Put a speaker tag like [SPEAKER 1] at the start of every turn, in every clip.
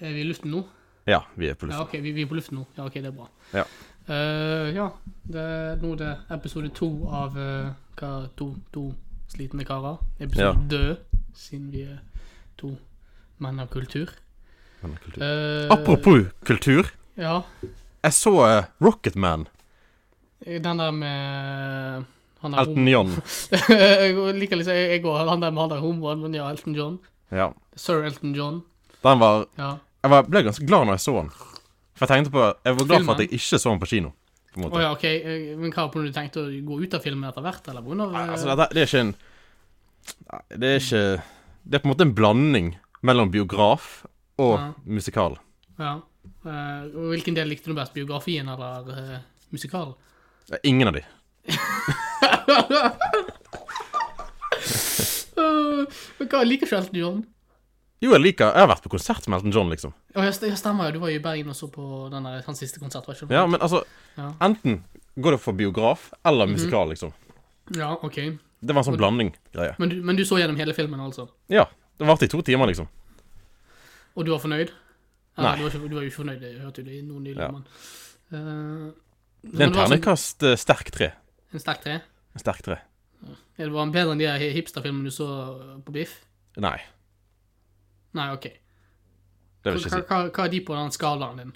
[SPEAKER 1] Er Eh, vi i luften nå?
[SPEAKER 2] Ja, vi er på
[SPEAKER 1] Ja,
[SPEAKER 2] luften.
[SPEAKER 1] OK, vi, vi er på luften nå. Ja, OK, det er bra.
[SPEAKER 2] Ja.
[SPEAKER 1] Eh, ja, det er nå det er episode to av eh, hva, to, to slitne karer. Episode
[SPEAKER 2] Ja.
[SPEAKER 1] død, siden vi er to menn av kultur.
[SPEAKER 2] Men kultur.
[SPEAKER 1] Eh,
[SPEAKER 2] Apropos kultur.
[SPEAKER 1] Ja,
[SPEAKER 2] Jeg så eh, Rocketman.
[SPEAKER 1] den der med eh, han der
[SPEAKER 2] Elton John.
[SPEAKER 1] jeg liker liksom jeg, jeg går han der med han der homoen, men ja, Elton John.
[SPEAKER 2] Ja.
[SPEAKER 1] Sir Elton John.
[SPEAKER 2] Den var
[SPEAKER 1] Ja.
[SPEAKER 2] Jeg var, ble ganske glad når jeg så den. For jeg tenkte på Jeg var glad for at
[SPEAKER 1] Filmen?
[SPEAKER 2] jeg ikke så den på kino. På en
[SPEAKER 1] Å
[SPEAKER 2] måte.
[SPEAKER 1] ja, OK. eh, Men hva på når du tenkte å gå ut av filmen etter hvert, eller? på grunn av,
[SPEAKER 2] Nei,
[SPEAKER 1] eh,
[SPEAKER 2] altså, dette, det er ikke en Nei, Det er ikke Det er på en måte en blanding mellom biograf og
[SPEAKER 1] Ja.
[SPEAKER 2] musikal.
[SPEAKER 1] ja. Eh, og hvilken del likte du best? Biografien eller eh, musikalen?
[SPEAKER 2] Det er Ingen av de.
[SPEAKER 1] Eh, Men hva, jeg liker ikke Elton John.
[SPEAKER 2] Jo, jeg liker Jeg har vært på konsert med Elton John, liksom.
[SPEAKER 1] Å, jeg, st- jeg stemmer jo, du var jo i Bergen og så på den der, hans siste konsert, var ikke det?
[SPEAKER 2] Ja, men altså
[SPEAKER 1] Ja. Mhm.
[SPEAKER 2] Enten går det for biograf eller musikal, liksom.
[SPEAKER 1] ja, OK.
[SPEAKER 2] Det var en sånn blanding-greie.
[SPEAKER 1] Men du, men du så gjennom hele filmen, altså?
[SPEAKER 2] Ja. Det varte i to timer, liksom.
[SPEAKER 1] Og du var fornøyd?
[SPEAKER 2] Nei.
[SPEAKER 1] Du var, ikke, du var jo ikke fornøyd, det hørte jo det noen nylig,
[SPEAKER 2] Ja.
[SPEAKER 1] men eh,
[SPEAKER 2] Det er
[SPEAKER 1] men
[SPEAKER 2] en
[SPEAKER 1] var sånn-
[SPEAKER 2] ternekast eh, sterk tre.
[SPEAKER 1] En sterk tre?
[SPEAKER 2] En sterk tre.
[SPEAKER 1] Ja, det var en bedre enn de her hipsterfilmene du så eh, på Biff?
[SPEAKER 2] Nei,
[SPEAKER 1] Nei, OK.
[SPEAKER 2] det vil jeg
[SPEAKER 1] Hva,
[SPEAKER 2] ikke si.
[SPEAKER 1] hva, hva er de på den skalaen din?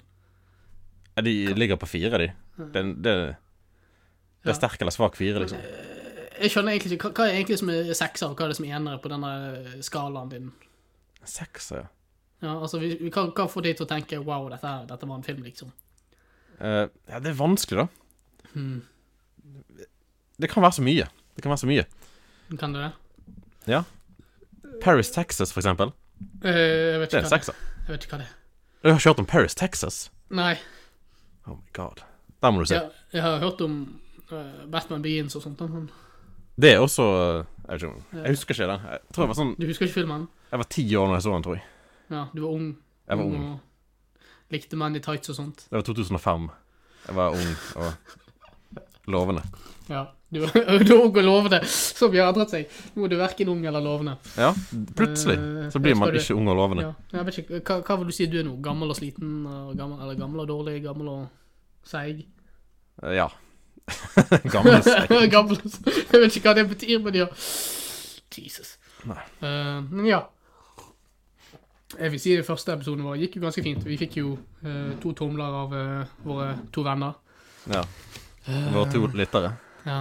[SPEAKER 2] Ja, De ligger på fire, de. Det, er en- det, er- det
[SPEAKER 1] Ja. eh,
[SPEAKER 2] er sterk eller svak fire, liksom.
[SPEAKER 1] Jeg skjønner egentlig ikke, hva, hva er egentlig som er sekser, og hva er det som er enere på denne skalaen din?
[SPEAKER 2] Seks, ja.
[SPEAKER 1] Ja, altså, vi, vi, hva, hva får de til å tenke 'wow, dette, er- dette var en film', liksom?
[SPEAKER 2] Eh, ja, det er vanskelig, da.
[SPEAKER 1] Hmm.
[SPEAKER 2] Det kan være så mye. Det kan være så mye.
[SPEAKER 1] Kan du det?
[SPEAKER 2] Paris, Texas, for eksempel.
[SPEAKER 1] Eh, jeg, vet
[SPEAKER 2] Det
[SPEAKER 1] ikke hva
[SPEAKER 2] er en
[SPEAKER 1] det
[SPEAKER 2] sekser.
[SPEAKER 1] jeg vet ikke hva det er.
[SPEAKER 2] Du har ikke hørt om Paris, Texas?
[SPEAKER 1] Nei,
[SPEAKER 2] Oh my god. Der må du se.
[SPEAKER 1] jeg, jeg har hørt om eh, Batman Begins og sånt, men
[SPEAKER 2] Det er også eh, Jeg, vet ikke, om- jeg husker ikke den. Jeg tror jeg var sånn
[SPEAKER 1] du husker ikke filmen?
[SPEAKER 2] Jeg var ti år når jeg så den, tror jeg.
[SPEAKER 1] Ja, du var ung.
[SPEAKER 2] Jeg var ung.
[SPEAKER 1] Og likte menn i tights og sånt.
[SPEAKER 2] Det var 2005. Jeg var ung og lovende.
[SPEAKER 1] Ja. Du, du var ung og lovende, som har endret seg. Nå er du verken ung eller lovende.
[SPEAKER 2] Ja,
[SPEAKER 1] Eh,
[SPEAKER 2] plutselig så blir man ikke ung og lovende.
[SPEAKER 1] Ja. Jeg vet ikke, hva, hva vil du si du er nå? Gammel og sliten? og Gammel, eller gammel og dårlig? Gammel og seig?
[SPEAKER 2] Eh, Ja. Gammel sekk.
[SPEAKER 1] gammel og Jeg vet ikke hva det betyr, men ja. Jesus.
[SPEAKER 2] Nei.
[SPEAKER 1] Eh, men ja. Jeg vil si den første episoden vår gikk jo ganske fint. Vi fikk jo eh, to tomler av eh, våre to venner.
[SPEAKER 2] Ja. Våre to lyttere.
[SPEAKER 1] Ja.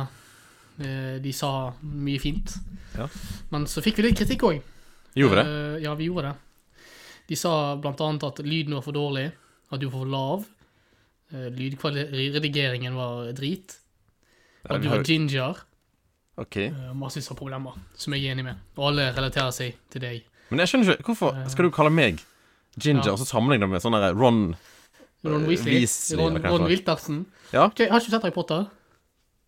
[SPEAKER 1] Eh, De sa mye fint.
[SPEAKER 2] Ja.
[SPEAKER 1] Men så fikk vi litt kritikk òg.
[SPEAKER 2] Gjorde vi det?
[SPEAKER 1] Ja, vi gjorde det. De sa blant annet at lyden var for dårlig, at du var for lav. Lydredigeringen var drit.
[SPEAKER 2] Ja,
[SPEAKER 1] At
[SPEAKER 2] vi
[SPEAKER 1] du
[SPEAKER 2] har
[SPEAKER 1] har
[SPEAKER 2] jo-
[SPEAKER 1] ginger.
[SPEAKER 2] OK.
[SPEAKER 1] eh, Massevis av problemer, som jeg er enig med. Og alle relaterer seg til deg.
[SPEAKER 2] Men jeg skjønner ikke Hvorfor skal du kalle meg Ginger
[SPEAKER 1] Ja.
[SPEAKER 2] og så sammenligne det med sånn der Ron
[SPEAKER 1] Ron
[SPEAKER 2] Eh,
[SPEAKER 1] Weasley.
[SPEAKER 2] Weasley,
[SPEAKER 1] Ron,
[SPEAKER 2] eller hva
[SPEAKER 1] Ron
[SPEAKER 2] det
[SPEAKER 1] Wiltersen.
[SPEAKER 2] Ja.
[SPEAKER 1] Ok, Har ikke du sett Harry Potter?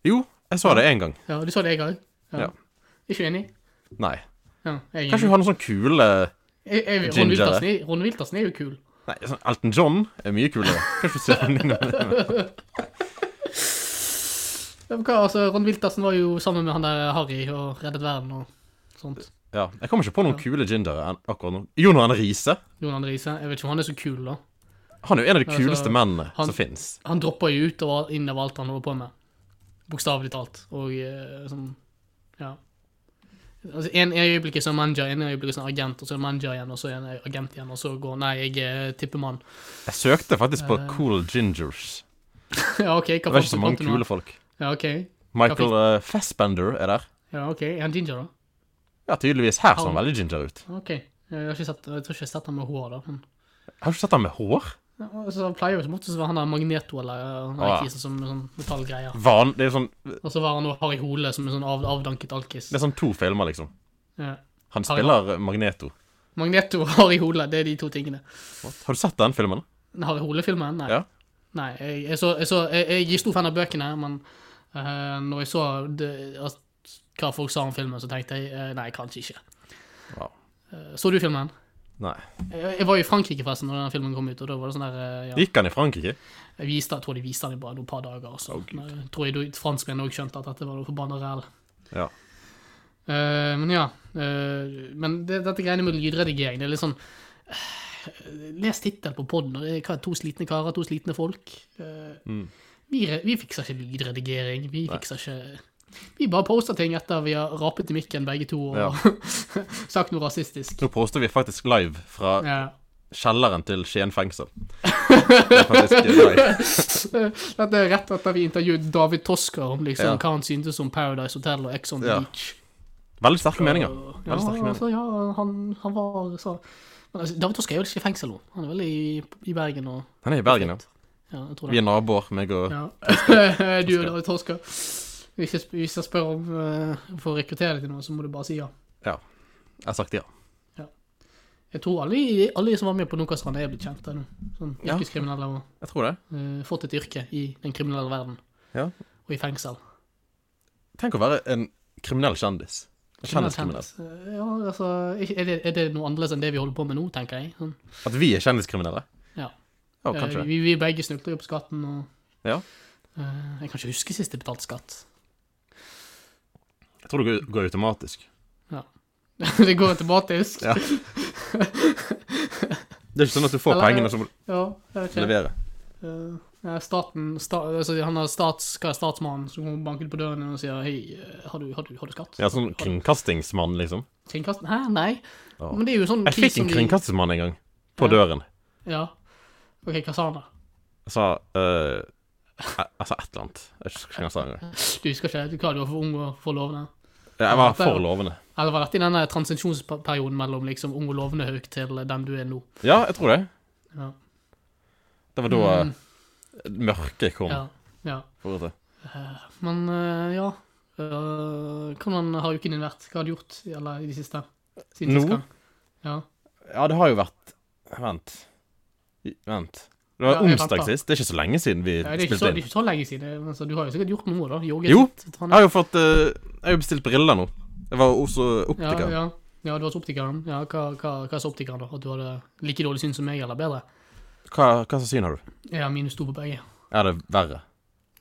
[SPEAKER 2] Jo, jeg så det én gang.
[SPEAKER 1] Ja, Du så det jeg òg?
[SPEAKER 2] Ja.
[SPEAKER 1] Ikke enig?
[SPEAKER 2] Nei.
[SPEAKER 1] Ja, jeg er
[SPEAKER 2] Kanskje
[SPEAKER 1] enig.
[SPEAKER 2] vi har noen sånn kule
[SPEAKER 1] Jeg- jeg- Ron
[SPEAKER 2] Ginger, eh?
[SPEAKER 1] Wiltersen er- Ron Wiltersen er jo kul.
[SPEAKER 2] Nei, sånn Elton John er mye kulere. Kanskje vi sammenligner med det.
[SPEAKER 1] Ja, men hva, altså, Ron Wiltersen var jo sammen med han der Harry og reddet verden og sånt.
[SPEAKER 2] Ja, Jeg kommer ikke på noen kule gingere enn akkurat nå. Jon Arne Riise.
[SPEAKER 1] Jon André Riise. Jeg vet ikke om han er så kul, da.
[SPEAKER 2] Han er jo en av de
[SPEAKER 1] Altså,
[SPEAKER 2] kuleste mennene
[SPEAKER 1] han-
[SPEAKER 2] som fins.
[SPEAKER 1] Han dropper jo ut og inn av alt han holder på med. Bokstavelig talt. Og eh, sånn Ja. Altså, en i øyeblikket så er manager, en i øyeblikket så er sånn agent, og så er manager igjen, og så er han agent igjen, og så går Nei, jeg er tippemann.
[SPEAKER 2] Jeg søkte faktisk på
[SPEAKER 1] Eh.
[SPEAKER 2] cool gingers.
[SPEAKER 1] ja, OK. Hva
[SPEAKER 2] Det var ikke
[SPEAKER 1] fant
[SPEAKER 2] så
[SPEAKER 1] du-
[SPEAKER 2] mange
[SPEAKER 1] fant du nå?
[SPEAKER 2] kule folk.
[SPEAKER 1] Ja, OK.
[SPEAKER 2] Michael eh, Fassbender er der.
[SPEAKER 1] Ja, ok. Er han ginger, da?
[SPEAKER 2] Ja, tydeligvis. Her ser han
[SPEAKER 1] Han-
[SPEAKER 2] veldig ginger ut.
[SPEAKER 1] OK. Jeg, har ikke sett, jeg tror ikke jeg har sett han med hår, da. Men,
[SPEAKER 2] Har du ikke sett han med hår?
[SPEAKER 1] ja, altså, han pleier jo som oftest å være han der Magneto eller eh, han der
[SPEAKER 2] Ah, ja.
[SPEAKER 1] kisen som med sånn metallgreier.
[SPEAKER 2] Van, det er sånn
[SPEAKER 1] Og så var han og Harry Hole som en sånn av, avdanket alkis.
[SPEAKER 2] Det er sånn to filmer, liksom.
[SPEAKER 1] Ja. Har
[SPEAKER 2] Han
[SPEAKER 1] jeg-
[SPEAKER 2] spiller Magneto.
[SPEAKER 1] Magneto og Harry Hole, det er de to tingene.
[SPEAKER 2] Har du sett den filmen?
[SPEAKER 1] Den Harry Hole-filmen? Nei.
[SPEAKER 2] Ja.
[SPEAKER 1] Nei, jeg, jeg, så, jeg, så, jeg, jeg er stor fan av bøkene, men eh, når jeg så det, at, hva folk sa om filmen, så tenkte jeg eh, nei, kanskje ikke.
[SPEAKER 2] Wow.
[SPEAKER 1] Eh, så du filmen?
[SPEAKER 2] Nei.
[SPEAKER 1] Jeg, jeg var i Frankrike forresten når den filmen kom ut, og da var det sånn der eh, ja.
[SPEAKER 2] Gikk han i Frankrike?
[SPEAKER 1] Jeg viste, jeg tror de viste den i bare noen par dager. Så
[SPEAKER 2] Å, Gud.
[SPEAKER 1] Men jeg tror jeg franskmennene òg skjønte at dette var noe forbanna ræl.
[SPEAKER 2] Ja.
[SPEAKER 1] Eh, men ja. eh, men det, dette greiene med lydredigering, det er litt sånn eh, Les tittelen på poden. To slitne karer, to slitne folk. Eh,
[SPEAKER 2] Mm.
[SPEAKER 1] Vi, re- vi fikser ikke lydredigering. Vi fikser ikke Vi bare poster ting etter vi har rapet i mikken begge to og
[SPEAKER 2] Ja.
[SPEAKER 1] sagt noe rasistisk.
[SPEAKER 2] Nå poster vi faktisk live fra
[SPEAKER 1] Ja.
[SPEAKER 2] kjelleren til Skien fengsel. Det er faktisk live.
[SPEAKER 1] Dette er rett etter vi intervjuet David Tosker om liksom,
[SPEAKER 2] Ja.
[SPEAKER 1] hva han syntes om Paradise Hotel og Ex on the
[SPEAKER 2] Ja.
[SPEAKER 1] Beach.
[SPEAKER 2] Veldig sterke meninger.
[SPEAKER 1] Og- Ja,
[SPEAKER 2] Veldig sterke meninger.
[SPEAKER 1] altså, ja han, han var så Men altså, David Tosker er jo ikke i fengsel nå. Han er vel i, i Bergen og
[SPEAKER 2] Han er i Bergen, ja.
[SPEAKER 1] Ja, jeg tror det.
[SPEAKER 2] Vi er naboer, meg og
[SPEAKER 1] Ja. du og David Tosker. Hvis jeg, sp- hvis jeg spør om eh, for å rekruttere deg til noe, så må du bare si ja.
[SPEAKER 2] Jeg har sagt ja.
[SPEAKER 1] Jeg tror alle, i- alle som var med på Nokastrand, er blitt kjent der nå. Sånn
[SPEAKER 2] Ja.
[SPEAKER 1] yrkeskriminelle og
[SPEAKER 2] Jeg tror det.
[SPEAKER 1] eh, fått et yrke i den kriminelle verden.
[SPEAKER 2] Ja.
[SPEAKER 1] Og i fengsel.
[SPEAKER 2] Tenk å være en kriminell kjendis. Kjendiskriminell.
[SPEAKER 1] Eh, Ja, altså, ikke- er det, er det noe annerledes enn det vi holder på med nå, tenker jeg. Sånn.
[SPEAKER 2] At vi er kjendiskriminelle?
[SPEAKER 1] Ja.
[SPEAKER 2] Ja,
[SPEAKER 1] Eh,
[SPEAKER 2] kanskje.
[SPEAKER 1] vi, vi begge snukler jo på skatten, og
[SPEAKER 2] Ja.
[SPEAKER 1] eh, jeg kan ikke huske sist jeg betalte skatt.
[SPEAKER 2] Jeg tror det går- går automatisk.
[SPEAKER 1] det går automatisk.
[SPEAKER 2] Ja. Det er ikke sånn at du får
[SPEAKER 1] Eller-
[SPEAKER 2] pengene, og så må du
[SPEAKER 1] Ja, jeg vet ikke.
[SPEAKER 2] levere.
[SPEAKER 1] Eh, nei, staten, sta, altså, han er stats, hva er statsmannen som kommer og banker på døren og sier hei, eh, har du, har du, har du skatt?
[SPEAKER 2] Ja, sånn
[SPEAKER 1] Har du-
[SPEAKER 2] kringkastingsmann, liksom.
[SPEAKER 1] Kringkasten? Hæ, nei.
[SPEAKER 2] Ja.
[SPEAKER 1] Men det er jo sånn
[SPEAKER 2] Jeg
[SPEAKER 1] pris
[SPEAKER 2] fikk en
[SPEAKER 1] som de-
[SPEAKER 2] kringkastingsmann en gang. På
[SPEAKER 1] Ja.
[SPEAKER 2] døren.
[SPEAKER 1] Ja. Ok, hva sa han da?
[SPEAKER 2] Jeg sa eh, jeg- Jeg sa et eller annet. Jeg husker ikke hva jeg sa engang.
[SPEAKER 1] Du husker ikke, du, hva, du var for ung og for lovende.
[SPEAKER 2] Jeg var for lovende.
[SPEAKER 1] Eller var dette i denne transisjonsperioden mellom liksom ung og lovende hauk til den du er nå?
[SPEAKER 2] Ja, jeg tror det.
[SPEAKER 1] Ja.
[SPEAKER 2] Det var da eh,
[SPEAKER 1] Mm,
[SPEAKER 2] mørket kom.
[SPEAKER 1] ja, ja.
[SPEAKER 2] for å si.
[SPEAKER 1] Men eh, ja, Eh, hvordan har uken din vært? Hva har du gjort eller, i det siste? Siden
[SPEAKER 2] Nå?
[SPEAKER 1] sist gang? Ja.
[SPEAKER 2] Ja, det har jo vært Vent. I- Vent. Det var
[SPEAKER 1] Ja, jeg
[SPEAKER 2] onsdag
[SPEAKER 1] venter.
[SPEAKER 2] sist. Det er ikke så lenge siden vi
[SPEAKER 1] Ja, Det er ikke så,
[SPEAKER 2] spilte
[SPEAKER 1] det er
[SPEAKER 2] inn.
[SPEAKER 1] ikke så lenge siden. Altså, du har jo sikkert gjort noe, da. Jogget
[SPEAKER 2] Jo,
[SPEAKER 1] litt, tatt
[SPEAKER 2] Jeg har jo fått eh, Jeg har jo bestilt briller nå. Jeg var også
[SPEAKER 1] ja,
[SPEAKER 2] optiker.
[SPEAKER 1] ja. ja, du har hos optikeren. Ja, hva, hva, hva sa optikeren, da? At du hadde like dårlig syn som meg, eller bedre?
[SPEAKER 2] Hva, hva slags syn har du?
[SPEAKER 1] Ja, minus to på begge.
[SPEAKER 2] Er det verre?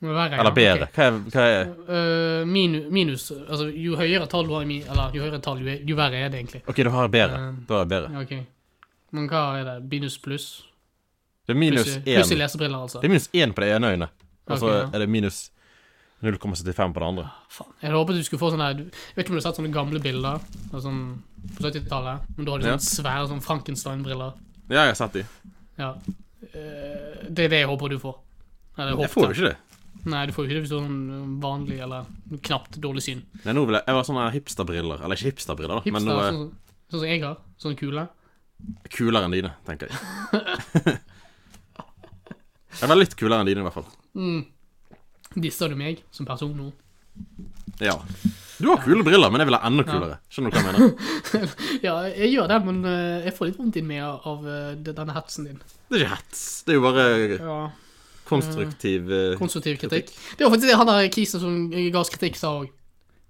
[SPEAKER 1] Men verre, ja.
[SPEAKER 2] Eller bedre?
[SPEAKER 1] Ok.
[SPEAKER 2] Hva er, hva er
[SPEAKER 1] Eh, minu, minus Altså, jo høyere tall du har i min... Eller, jo høyere tall, jo, jo verre er det egentlig.
[SPEAKER 2] OK, du har bedre.
[SPEAKER 1] Eh,
[SPEAKER 2] Da er det bedre.
[SPEAKER 1] Ja, OK. Men hva er det? Minus pluss?
[SPEAKER 2] Det er minus
[SPEAKER 1] Pluss i- pluss i
[SPEAKER 2] én.
[SPEAKER 1] lesebriller, altså.
[SPEAKER 2] Det er minus én på det ene øynet, og så
[SPEAKER 1] Ok, ja.
[SPEAKER 2] er det minus 0,75 på det andre.
[SPEAKER 1] Faen. Jeg hadde håpet du skulle få sånne Jeg vet ikke om du har sett sånne gamle bilder altså, sånn på 70-tallet. Men da har de
[SPEAKER 2] Ja.
[SPEAKER 1] sånne svære sånn Frankenstein-briller.
[SPEAKER 2] Ja, jeg har sett de.
[SPEAKER 1] Ja. Eh, Det er det jeg håper du får. Eller
[SPEAKER 2] Jeg
[SPEAKER 1] håpte.
[SPEAKER 2] får jo ikke det.
[SPEAKER 1] Nei, du får jo ikke det hvis du har sånn vanlig eller knapt dårlig syn.
[SPEAKER 2] Nei, nå vil jeg, jeg var sånne hipsterbriller. Eller ikke hipsterbriller, da,
[SPEAKER 1] Hipster, altså.
[SPEAKER 2] men eh, noe
[SPEAKER 1] sånn, sånn som jeg har. Sånn kule.
[SPEAKER 2] kulere enn dine, tenker jeg. Jeg var litt kulere enn dine, i hvert fall.
[SPEAKER 1] Mm. Disser du meg som person nå?
[SPEAKER 2] Ja. Du har kule briller, men jeg vil ha enda kulere. Skjønner du hva jeg mener?
[SPEAKER 1] Ja, jeg gjør det, men eh, jeg får litt vondt inni meg av- av eh, det- denne hetsen din.
[SPEAKER 2] Det er ikke hets. Det er jo bare
[SPEAKER 1] Ja,
[SPEAKER 2] konstruktiv eh,
[SPEAKER 1] Konstruktiv kritikk. Det var faktisk det han der kisen som ga oss kritikk, sa òg.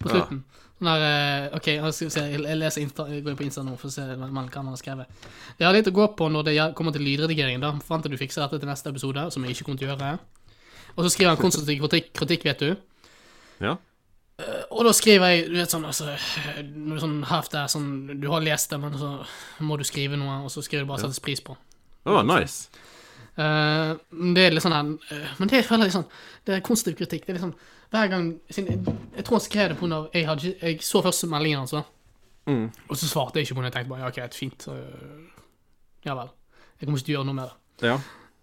[SPEAKER 1] På
[SPEAKER 2] Ja.
[SPEAKER 1] slutten. Sånn der eh, OK, jeg, skal vi se, jeg leser Insta, jeg går inn på Insta nå for å se hva hva han har skrevet. Jeg har litt å gå på når det gjel- kommer til lydredigeringen. Da Fram til du fikser dette til neste episode, som jeg ikke kommer til å gjøre. Og så skriver han konstruktiv kritikk, kritikk vet du.
[SPEAKER 2] Ja.
[SPEAKER 1] Og da skriver jeg du vet sånn, altså, noe sånn half der, sånn, Du har lest det, men så må du skrive noe, og så skriver du bare 'settes pris på'.
[SPEAKER 2] Det var nice.
[SPEAKER 1] Eh, men det er litt sånn her, eh, Men det føler jeg sånn Det er konstruktiv kritikk. Det er litt sånn Hver gang siden, jeg, jeg tror han skrev det på grunn av Jeg, hadde, ikke- jeg så først meldingen hans, da.
[SPEAKER 2] Mm.
[SPEAKER 1] Og så svarte jeg ikke på den. Jeg tenkte bare ja, OK, det er fint. eh, ja vel. Jeg kommer ikke til å gjøre noe med det.
[SPEAKER 2] Ja.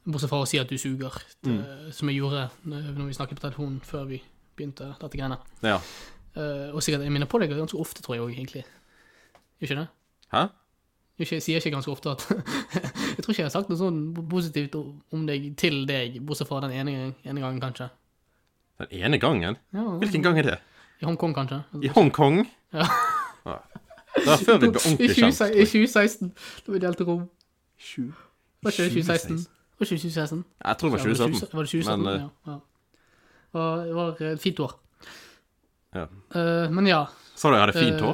[SPEAKER 1] Bortsett fra å si at du suger, det, som jeg gjorde eh, når vi snakket på telefonen før vi begynte dette greiene.
[SPEAKER 2] ja.
[SPEAKER 1] Eh, og sikkert jeg minner på deg ganske ofte, tror jeg òg, egentlig. Gjør ikke det?
[SPEAKER 2] Hæ?
[SPEAKER 1] Jeg ikke- sier ikke ganske ofte at Jeg tror ikke jeg har sagt noe sånn positivt om deg til deg, bortsett fra den ene, ene gangen, kanskje.
[SPEAKER 2] Den ene gangen?
[SPEAKER 1] Ja,
[SPEAKER 2] Hvilken gang er det?
[SPEAKER 1] I Hongkong, kanskje.
[SPEAKER 2] I Hongkong?
[SPEAKER 1] Ja.
[SPEAKER 2] Ja. Det var før vi ble ordentlig kjent. tror
[SPEAKER 1] I
[SPEAKER 2] jeg.
[SPEAKER 1] 2016, da vi delte rom.
[SPEAKER 2] Tjue-
[SPEAKER 1] Var ikke det 2016?
[SPEAKER 2] 2016?
[SPEAKER 1] Var ikke det 2016?
[SPEAKER 2] Jeg tror det var 2017.
[SPEAKER 1] Var det 2017?
[SPEAKER 2] Men, eh,
[SPEAKER 1] ja. ja. Og Det var et fint år.
[SPEAKER 2] Ja.
[SPEAKER 1] Eh, men ja.
[SPEAKER 2] Sa du jeg hadde fint hår?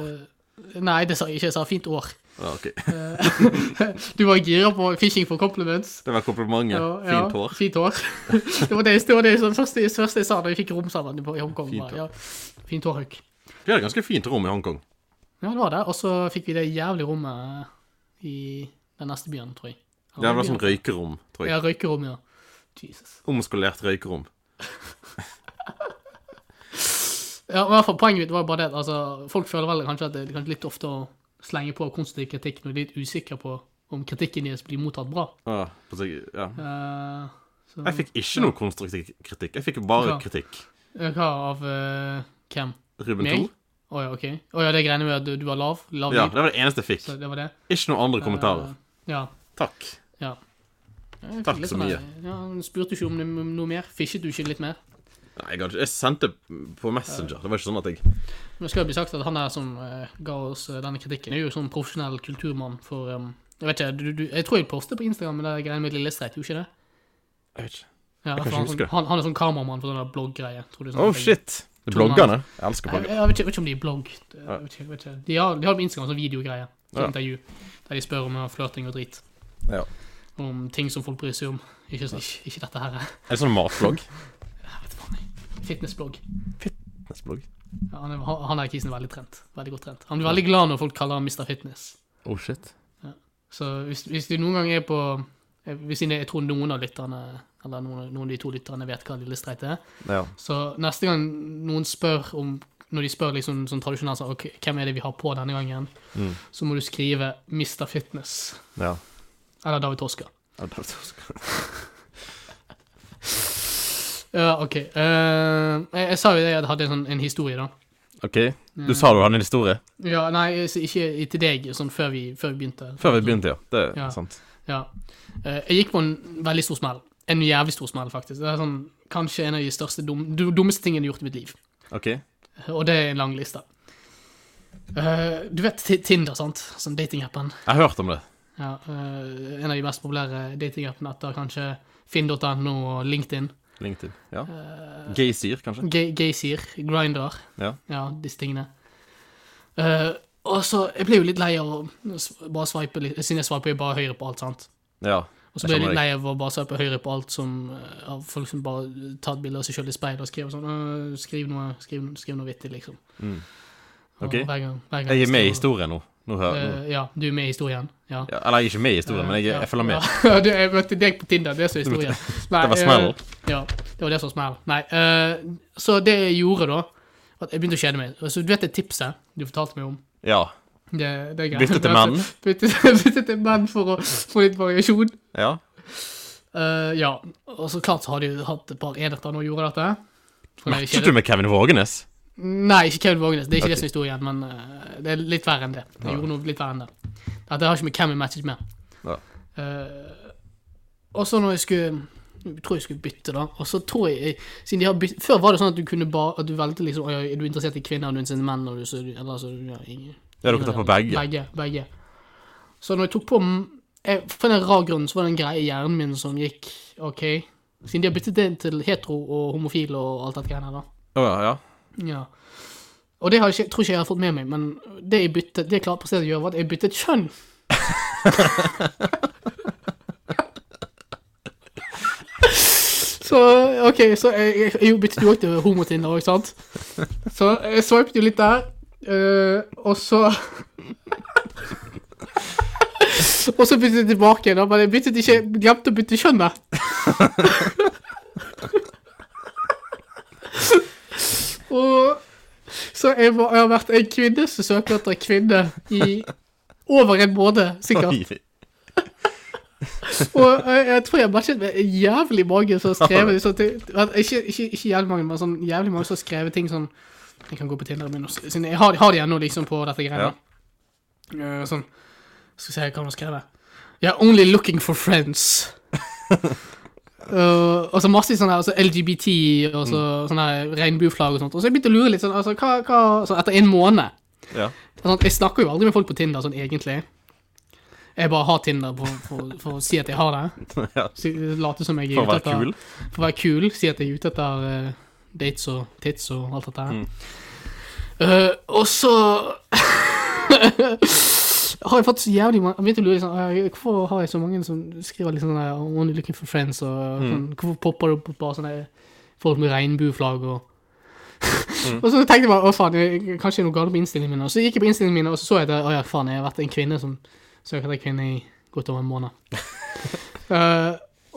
[SPEAKER 1] eh, nei, det sa jeg ikke. Jeg sa fint år.
[SPEAKER 2] Ja, ok.
[SPEAKER 1] Eh, du var gira på fishing for compliments.
[SPEAKER 2] Det var komplimentet.
[SPEAKER 1] Ja, ja,
[SPEAKER 2] Fint hår.
[SPEAKER 1] Fint hår. det var det, jeg- det, var det jeg- første, første jeg sa da vi fikk rom sammen på- i Hongkong.
[SPEAKER 2] Fint
[SPEAKER 1] Fint
[SPEAKER 2] hår.
[SPEAKER 1] Ja, fint hår, Hauk.
[SPEAKER 2] Vi hadde ganske fint rom i Hongkong.
[SPEAKER 1] Ja, det var det. Og så fikk vi det jævlig rommet i eh, den neste byen, tror jeg.
[SPEAKER 2] Det var sånn røykerom, tror jeg.
[SPEAKER 1] Ja, røykerom, ja. Jesus.
[SPEAKER 2] Omskolert røykerom.
[SPEAKER 1] Ja, men i hvert fall Poenget mitt var jo bare det at altså, folk føler vel kanskje at det det er kanskje litt ofte å slenge på konstruktiv kritikk når de er litt usikre på om kritikken deres blir mottatt bra.
[SPEAKER 2] Ja, på seg- ja.
[SPEAKER 1] Eh, så,
[SPEAKER 2] Jeg fikk ikke noe konstruktiv kritikk. Jeg fikk
[SPEAKER 1] Ja.
[SPEAKER 2] bare kritikk.
[SPEAKER 1] Eh, Hva av eh, hvem?
[SPEAKER 2] Ruben
[SPEAKER 1] Meg?
[SPEAKER 2] 2.
[SPEAKER 1] Å ja, OK. Å ja, det greiene med at du, du var lav? Lav
[SPEAKER 2] Ja,
[SPEAKER 1] lyd?
[SPEAKER 2] det var det eneste jeg fikk.
[SPEAKER 1] Så det var det?
[SPEAKER 2] Ikke noen andre kommentarer.
[SPEAKER 1] Eh, ja.
[SPEAKER 2] Takk.
[SPEAKER 1] ja. Jeg fikk
[SPEAKER 2] Takk
[SPEAKER 1] litt
[SPEAKER 2] så
[SPEAKER 1] sånn
[SPEAKER 2] mye.
[SPEAKER 1] der- Ja, han spurte ikke om det- om noe mer. Fisket du ikke litt mer?
[SPEAKER 2] Nei, jeg, hadde ikke- jeg sendte på Messenger. Det var ikke sånn at jeg
[SPEAKER 1] Men det skal jo bli sagt at han her som eh, ga oss eh, denne kritikken, er jo sånn profesjonell kulturmann for eh, Jeg vet ikke, du, du, jeg tror jeg postet på Instagram med det greiene med Lillestreit, gjorde jeg ikke det?
[SPEAKER 2] Jeg vet ikke.
[SPEAKER 1] Ja,
[SPEAKER 2] Jeg kan
[SPEAKER 1] for
[SPEAKER 2] ikke
[SPEAKER 1] han,
[SPEAKER 2] huske det.
[SPEAKER 1] han, han er sånn kameramann for sånne blogggreier. tror du sånn
[SPEAKER 2] Oh,
[SPEAKER 1] ting.
[SPEAKER 2] shit. Det er bloggerne. Jeg elsker
[SPEAKER 1] Jeg,
[SPEAKER 2] blogger.
[SPEAKER 1] jeg, vet ikke, jeg vet ikke om de er blogg. Jeg vet ikke, jeg vet ikke. De har, de har på Instagram sånn videogreier. Sånn
[SPEAKER 2] Ja.
[SPEAKER 1] intervju. Der de spør om eh, flørting og drit.
[SPEAKER 2] Ja.
[SPEAKER 1] Om ting som folk bryr seg om. Ikke, så- ikke, ikke dette her.
[SPEAKER 2] Er det sånn matblogg?
[SPEAKER 1] Jeg vet faen jeg. Fitnessblogg.
[SPEAKER 2] Fitnessblogg?
[SPEAKER 1] Ja, han, er- han er kisen er veldig trent. Veldig godt trent. Han blir veldig glad når folk kaller han Mr. Fitness.
[SPEAKER 2] Oh, shit.
[SPEAKER 1] Så hvis, hvis du noen gang er på eh, hvis jeg, jeg tror noen av lytterne, eller noen, noen av de to lytterne vet hva Lille Streit er,
[SPEAKER 2] Ja.
[SPEAKER 1] så neste gang noen spør om Når de spør liksom sånn tradisjonelt sånn, «Ok, hvem er det vi har på denne gangen,
[SPEAKER 2] Mm.
[SPEAKER 1] så må du skrive Mr. Fitness
[SPEAKER 2] ja.
[SPEAKER 1] eller David Toska.
[SPEAKER 2] Ja, det er-
[SPEAKER 1] Ja, OK. eh, jeg, jeg sa jo det at jeg hadde en, sånn, en historie, da.
[SPEAKER 2] OK. Du sa du hadde en historie
[SPEAKER 1] Ja, Nei, så ikke til deg, sånn før vi, før vi begynte.
[SPEAKER 2] før vi begynte, ja. Det
[SPEAKER 1] Ja.
[SPEAKER 2] er sant.
[SPEAKER 1] Ja. Eh, Jeg gikk på en veldig stor smell. En jævlig stor smell, faktisk. Det er sånn, kanskje en av de største dum, du- dummeste tingene jeg har gjort i mitt liv.
[SPEAKER 2] OK.
[SPEAKER 1] Og det er en lang liste. Eh, du vet Ti- Tinder, sant? Som datingappen.
[SPEAKER 2] Jeg har hørt om det.
[SPEAKER 1] Ja, eh, en av de mest populære datingappene etter kanskje finn.no og LinkedIn.
[SPEAKER 2] LinkedIn. Ja.
[SPEAKER 1] Eh,
[SPEAKER 2] Gaysir, kanskje?
[SPEAKER 1] Gay- Gaysir, Grinder.
[SPEAKER 2] Ja.
[SPEAKER 1] Ja, disse tingene. Eh, og så, Jeg ble jo litt lei av å s- bare sveipe litt, siden jeg sveiper jo bare høyre på alt, sant.
[SPEAKER 2] Ja.
[SPEAKER 1] Og så ble jeg
[SPEAKER 2] Jeg
[SPEAKER 1] litt
[SPEAKER 2] skjønner
[SPEAKER 1] lei av å bare se på høyre på alt som eh, av folk som bare tar et bilde av seg sjøl i speilet og skriver sånn «Åh, Skriv noe skriv, skriv noe vittig, liksom.
[SPEAKER 2] Mm.
[SPEAKER 1] Og
[SPEAKER 2] Ok.
[SPEAKER 1] Hver gang, hver gang
[SPEAKER 2] Jeg er med
[SPEAKER 1] skriver-
[SPEAKER 2] i historien nå. nå hører, nå.
[SPEAKER 1] Eh, ja, du er med i historien. Ja.
[SPEAKER 2] Ja, eller jeg er ikke med i historien, men jeg,
[SPEAKER 1] Ja.
[SPEAKER 2] jeg følger med.
[SPEAKER 1] Ja, du, jeg møtte deg på Tinder, det er så historien. Nei,
[SPEAKER 2] Det var smell.
[SPEAKER 1] eh, ja, det var det som var smell. Nei, eh, så det jeg gjorde da, at jeg begynte å kjede meg. Så du vet det tipset du fortalte meg om?
[SPEAKER 2] Ja.
[SPEAKER 1] Det, det er greit.
[SPEAKER 2] Bytte til menn.
[SPEAKER 1] Bytte, bytte til menn for å få litt variasjon.
[SPEAKER 2] Ja.
[SPEAKER 1] Eh, ja, og så klart så har de jo hatt et par enheter når de gjorde dette. For det er
[SPEAKER 2] Matchet
[SPEAKER 1] ikke-
[SPEAKER 2] du med Kevin Vågenes?
[SPEAKER 1] Nei, ikke Kevin Vågenes. Det er ikke det
[SPEAKER 2] Ok.
[SPEAKER 1] som er historien, men eh, det er litt verre enn det. Jeg
[SPEAKER 2] Ja.
[SPEAKER 1] gjorde noe litt verre enn det. Dette har ikke med hvem jeg matchet med.
[SPEAKER 2] Ja.
[SPEAKER 1] Eh, og så når jeg skulle jeg tror jeg skulle bytte, da. Og så tror jeg siden de har bytt, Før var det sånn at du kunne bare At du valgte liksom «Å, ja, Er du interessert i kvinner, er du interessert i menn? Og du, så, eller så ja, ingen,
[SPEAKER 2] Ja, dere tar på begge.
[SPEAKER 1] Begge, begge. Så når jeg tok på jeg, For en rar grunn så var det en greie i hjernen min som gikk OK. Siden de har byttet det til hetero og homofil og alt dette greiene her, da.
[SPEAKER 2] Å ja, ja.
[SPEAKER 1] Ja. Og det har jeg ikke, tror ikke jeg har fått med meg, men det jeg byttet, det jeg klarte på stedet å gjøre, var at jeg byttet kjønn. Så OK, så jeg, jeg, jeg byttet jo også til homotinder òg, sant? Så jeg swipet jo litt der, eh, og så Og så byttet jeg tilbake, da, men jeg byttet ikke, glemte å bytte kjønn. da. og så jeg, var, jeg har vært en kvinne som søker etter en kvinne i over en måned, sikkert.
[SPEAKER 2] Oi.
[SPEAKER 1] Og jeg, jeg tror jeg matchet med jævlig mange som har skrevet sånn ting at ikke, ikke, ikke jævlig mange, men sånn jævlig mange som har skrevet ting sånn Jeg kan gå på Tinder min og s- siden Jeg har, har de ennå liksom på dette greiene. Eh, sånn Skal vi se hva han har skrevet. Yeah, only looking for friends. Eh, og så masse sånn her, altså LGBT og så, sånn her regnbueflagg og sånt. Og så jeg begynte å lure litt sånn altså, hva, hva, så Etter en måned
[SPEAKER 2] Ja.
[SPEAKER 1] Sånn, jeg snakker jo aldri med folk på Tinder sånn egentlig. Jeg bare har Tinder for, for, for å si at jeg har det.
[SPEAKER 2] ja.
[SPEAKER 1] Si- Late som jeg er
[SPEAKER 2] For å
[SPEAKER 1] ute
[SPEAKER 2] være
[SPEAKER 1] etter
[SPEAKER 2] kul.
[SPEAKER 1] For å være kul. Si at jeg er ute etter eh, dates og tits og alt dette her. Eh, og så har jeg fått så jævlig mange Jeg begynte å lure sånn, eh, Hvorfor har jeg så mange som skriver liksom sånn der, Only looking for friends og sånn, Hvorfor popper det opp bare sånne folk med regnbueflagg og Og så tenkte jeg bare, å faen, jeg, kanskje det er noe galt med innstillingen min. Og så gikk jeg på innstillingen min, og så så jeg at å ja, faen, jeg har vært en kvinne som søker etter kvinne i godt over en måned. Eh,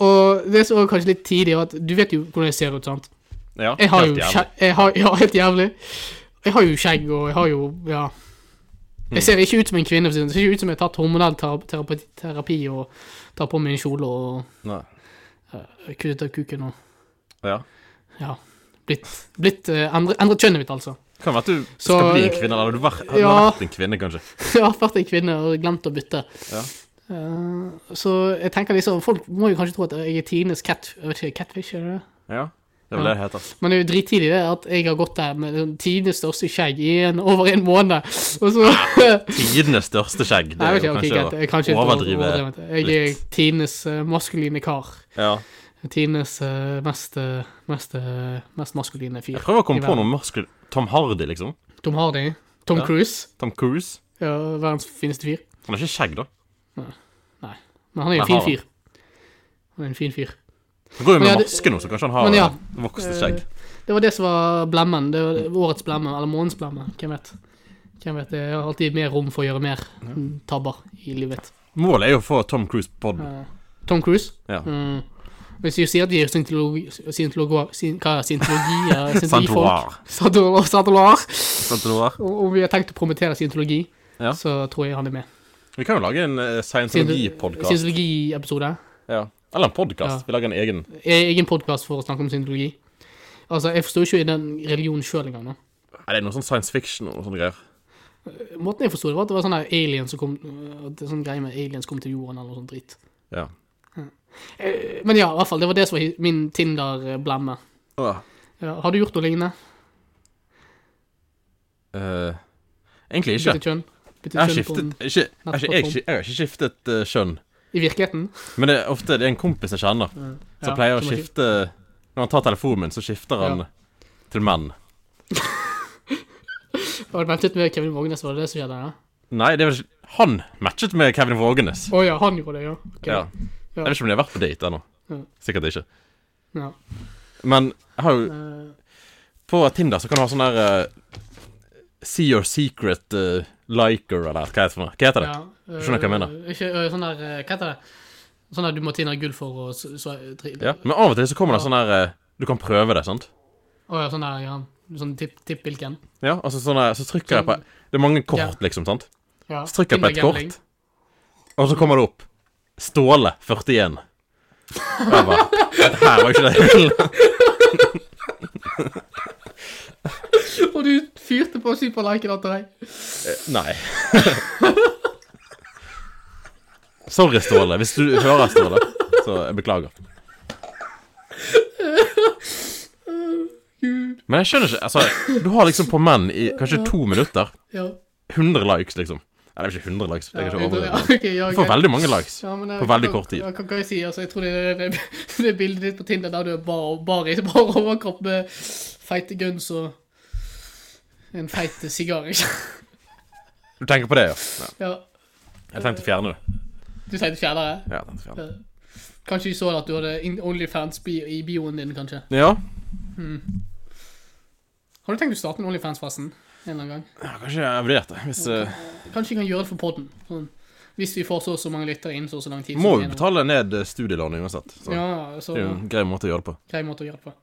[SPEAKER 1] og det som er kanskje litt tidlig, er at du vet jo hvordan jeg ser ut, sant?
[SPEAKER 2] Ja,
[SPEAKER 1] Jeg har
[SPEAKER 2] helt
[SPEAKER 1] jo
[SPEAKER 2] jævlig.
[SPEAKER 1] skjegg jeg har, Ja, helt jævlig. Jeg har jo skjegg, og jeg har jo Ja.
[SPEAKER 2] Mm.
[SPEAKER 1] Jeg ser ikke ut som en kvinne. for å si det sånn. Jeg ser ikke ut som jeg har tatt hormonell tera- terapi, terapi og tar på meg en kjole og
[SPEAKER 2] Nei.
[SPEAKER 1] kuttet av kuken og
[SPEAKER 2] Ja.
[SPEAKER 1] Ja. Blitt, blitt eh, endret, endret kjønnet mitt, altså.
[SPEAKER 2] Kan være at du
[SPEAKER 1] Så-
[SPEAKER 2] skal bli en kvinne, eller har du vært, har
[SPEAKER 1] Ja.
[SPEAKER 2] du vært en kvinne, kanskje.
[SPEAKER 1] Jeg har vært en kvinne og glemt å bytte.
[SPEAKER 2] Ja.
[SPEAKER 1] Eh, så jeg tenker liksom Folk må jo kanskje tro at jeg er tidenes cat, jeg vet ikke, catfish, er det det?
[SPEAKER 2] Ja. Det er vel
[SPEAKER 1] Ja.
[SPEAKER 2] det det heter.
[SPEAKER 1] Men det er jo drittidlig det at jeg har gått der med den tidenes største skjegg i en, over en måned. Og så
[SPEAKER 2] Tidenes største skjegg. Det
[SPEAKER 1] Nei,
[SPEAKER 2] er
[SPEAKER 1] jeg vet
[SPEAKER 2] jo
[SPEAKER 1] ikke, ok, greit. Jeg kan
[SPEAKER 2] kanskje
[SPEAKER 1] ikke
[SPEAKER 2] å
[SPEAKER 1] overdrive
[SPEAKER 2] overdrive.
[SPEAKER 1] overdrive. Jeg er tidenes eh, maskuline kar.
[SPEAKER 2] Ja.
[SPEAKER 1] Tidenes eh, mest, eh, mest, eh, mest maskuline
[SPEAKER 2] Jeg
[SPEAKER 1] fyr.
[SPEAKER 2] prøver å komme
[SPEAKER 1] I
[SPEAKER 2] på
[SPEAKER 1] verden.
[SPEAKER 2] noe maskulin. Tom Hardy, liksom.
[SPEAKER 1] Tom Hardy. Tom
[SPEAKER 2] Ja.
[SPEAKER 1] Cruise.
[SPEAKER 2] Tom Cruise.
[SPEAKER 1] Ja, verdens fineste fyr.
[SPEAKER 2] Han har ikke skjegg, da.
[SPEAKER 1] Men han er
[SPEAKER 2] Nei,
[SPEAKER 1] en fin
[SPEAKER 2] har han.
[SPEAKER 1] fyr. Han er en fin fyr.
[SPEAKER 2] Han går
[SPEAKER 1] Men
[SPEAKER 2] jo med
[SPEAKER 1] ja, det-
[SPEAKER 2] maske nå, så kanskje han har
[SPEAKER 1] Men ja.
[SPEAKER 2] eh, vokst et skjegg.
[SPEAKER 1] Eh, Det var det som var blemmen. Det var årets blemme, eller månedens blemme. Hvem vet. Hvem vet, Det er alltid mer rom for å gjøre mer mm, tabber i livet.
[SPEAKER 2] Målet er jo å få Tom Cruise på podden.
[SPEAKER 1] Eh, Tom Cruise.
[SPEAKER 2] Ja.
[SPEAKER 1] Mm. Hvis du sier at de er scientologi... scientologi- sin- Hva er scientologi? Eh,
[SPEAKER 2] Santorar.
[SPEAKER 1] Scientologifolk. Santorar. Santorar.
[SPEAKER 2] Sant det var?
[SPEAKER 1] Og om vi har tenkt å promotere scientologi,
[SPEAKER 2] Ja.
[SPEAKER 1] så tror jeg han er med.
[SPEAKER 2] Vi kan jo lage en eh, scientologi-podkast.
[SPEAKER 1] Scientologiepisode.
[SPEAKER 2] Ja. Eller en
[SPEAKER 1] Ja.
[SPEAKER 2] podkast. Vi lager en egen.
[SPEAKER 1] Egen podkast for å snakke om scientologi. Altså, Jeg forsto ikke den religionen sjøl engang. nå.
[SPEAKER 2] Nei, det er noe sånn science fiction og noe sånne greier.
[SPEAKER 1] Måten jeg forsto det, var at det var sånn der aliens som kom at det er sånn greie med aliens kom til jorden, eller noe sånt dritt.
[SPEAKER 2] Ja.
[SPEAKER 1] Eh, Men ja, i hvert fall. Det var det som var hi- min Tinder-blemme.
[SPEAKER 2] Åh.
[SPEAKER 1] Ja, har du gjort noe lignende?
[SPEAKER 2] Eh, egentlig ikke.
[SPEAKER 1] Byttet kjønn? Byttet
[SPEAKER 2] Jeg har
[SPEAKER 1] kjønn på en-
[SPEAKER 2] skiftet ikke, jeg, har ikke, jeg, har ikke- jeg har ikke skiftet eh, kjønn.
[SPEAKER 1] I virkeligheten?
[SPEAKER 2] Men det er ofte det er en kompis jeg kjenner, som
[SPEAKER 1] Mm. Ja,
[SPEAKER 2] pleier å
[SPEAKER 1] som har skift-
[SPEAKER 2] skifte Når han tar telefonen min, så skifter han
[SPEAKER 1] Ja.
[SPEAKER 2] til menn.
[SPEAKER 1] Har du ventet med Kevin Vågenes, var det det som skjedde? ja?
[SPEAKER 2] Nei, det er vel ikke Han matchet med Kevin Vågenes.
[SPEAKER 1] Å ja, han gjorde det, ja. Ok.
[SPEAKER 2] Ja. Jeg vet ikke om de har vært på date ennå.
[SPEAKER 1] Ja.
[SPEAKER 2] Sikkert ikke.
[SPEAKER 1] Ja.
[SPEAKER 2] Men jeg har jo
[SPEAKER 1] Eh,
[SPEAKER 2] På Tinder så kan du ha sånn der eh, See your secret eh, liker, eller hva heter det? for noe? Hva heter det?
[SPEAKER 1] ja. eh,
[SPEAKER 2] Skjønner hva jeg mener.
[SPEAKER 1] Ikke eh, sånn der eh, Hva heter det? Sånn der du må tjene gull for og så, så tri,
[SPEAKER 2] Ja. Men av og til så kommer det sånn der eh, Du kan prøve det, sant?
[SPEAKER 1] Å ja, sånn der, ja. Sånn tipp, tipp hvilken.
[SPEAKER 2] Ja, altså sånn der, Så trykker jeg på Det er mange kort,
[SPEAKER 1] Ja.
[SPEAKER 2] liksom, sant?
[SPEAKER 1] Ja.
[SPEAKER 2] Så trykker jeg på et
[SPEAKER 1] Tinder-gambling.
[SPEAKER 2] kort, og så kommer det opp Ståle 41. Og jeg bare Det her var jo ikke det jeg ville.
[SPEAKER 1] Og du fyrte på superliken etter deg.
[SPEAKER 2] Nei. Sorry, Ståle. Hvis du hører Ståle, så jeg beklager.
[SPEAKER 1] Gud.
[SPEAKER 2] Men jeg skjønner ikke Altså, du har liksom på menn i kanskje to minutter
[SPEAKER 1] Ja.
[SPEAKER 2] 100 likes, liksom. Nei, det er ikke 100 likes. Det er
[SPEAKER 1] ja,
[SPEAKER 2] kanskje
[SPEAKER 1] ja,
[SPEAKER 2] overdrevet.
[SPEAKER 1] ok, ja,
[SPEAKER 2] Du får
[SPEAKER 1] greit.
[SPEAKER 2] veldig mange likes.
[SPEAKER 1] Ja, men, eh,
[SPEAKER 2] på veldig
[SPEAKER 1] hva-
[SPEAKER 2] kort tid.
[SPEAKER 1] hva- Hva kan jeg si? Altså, jeg tror det er det, det, det bildet ditt på Tinder der du er bar, bar i bar overkropp med feite guns og en feit sigar, ikke
[SPEAKER 2] Du tenker på det, ja? ja.
[SPEAKER 1] Ja.
[SPEAKER 2] Jeg tenkte å fjerne det.
[SPEAKER 1] Du tenkte fjernere?
[SPEAKER 2] Ja, jeg tenkte å fjerne det.
[SPEAKER 1] Eh, Kanskje de så at du hadde in- Onlyfans bi- i bioen din, kanskje.
[SPEAKER 2] Ja,
[SPEAKER 1] Har du tenkt å starte en Onlyfans, forresten? En eller annen gang.
[SPEAKER 2] ja, kanskje jeg vurderte det. Hvis eh,
[SPEAKER 1] Kanskje vi kan gjøre det for podden. Sånn. Hvis vi får så og så mange lyttere innen så og så lang tid.
[SPEAKER 2] Må
[SPEAKER 1] som
[SPEAKER 2] jo
[SPEAKER 1] en-
[SPEAKER 2] betale ned eh, studielånet uansett. Så.
[SPEAKER 1] Ja, så
[SPEAKER 2] Det er jo en grei måte å gjøre det på.
[SPEAKER 1] grei måte å gjøre det på.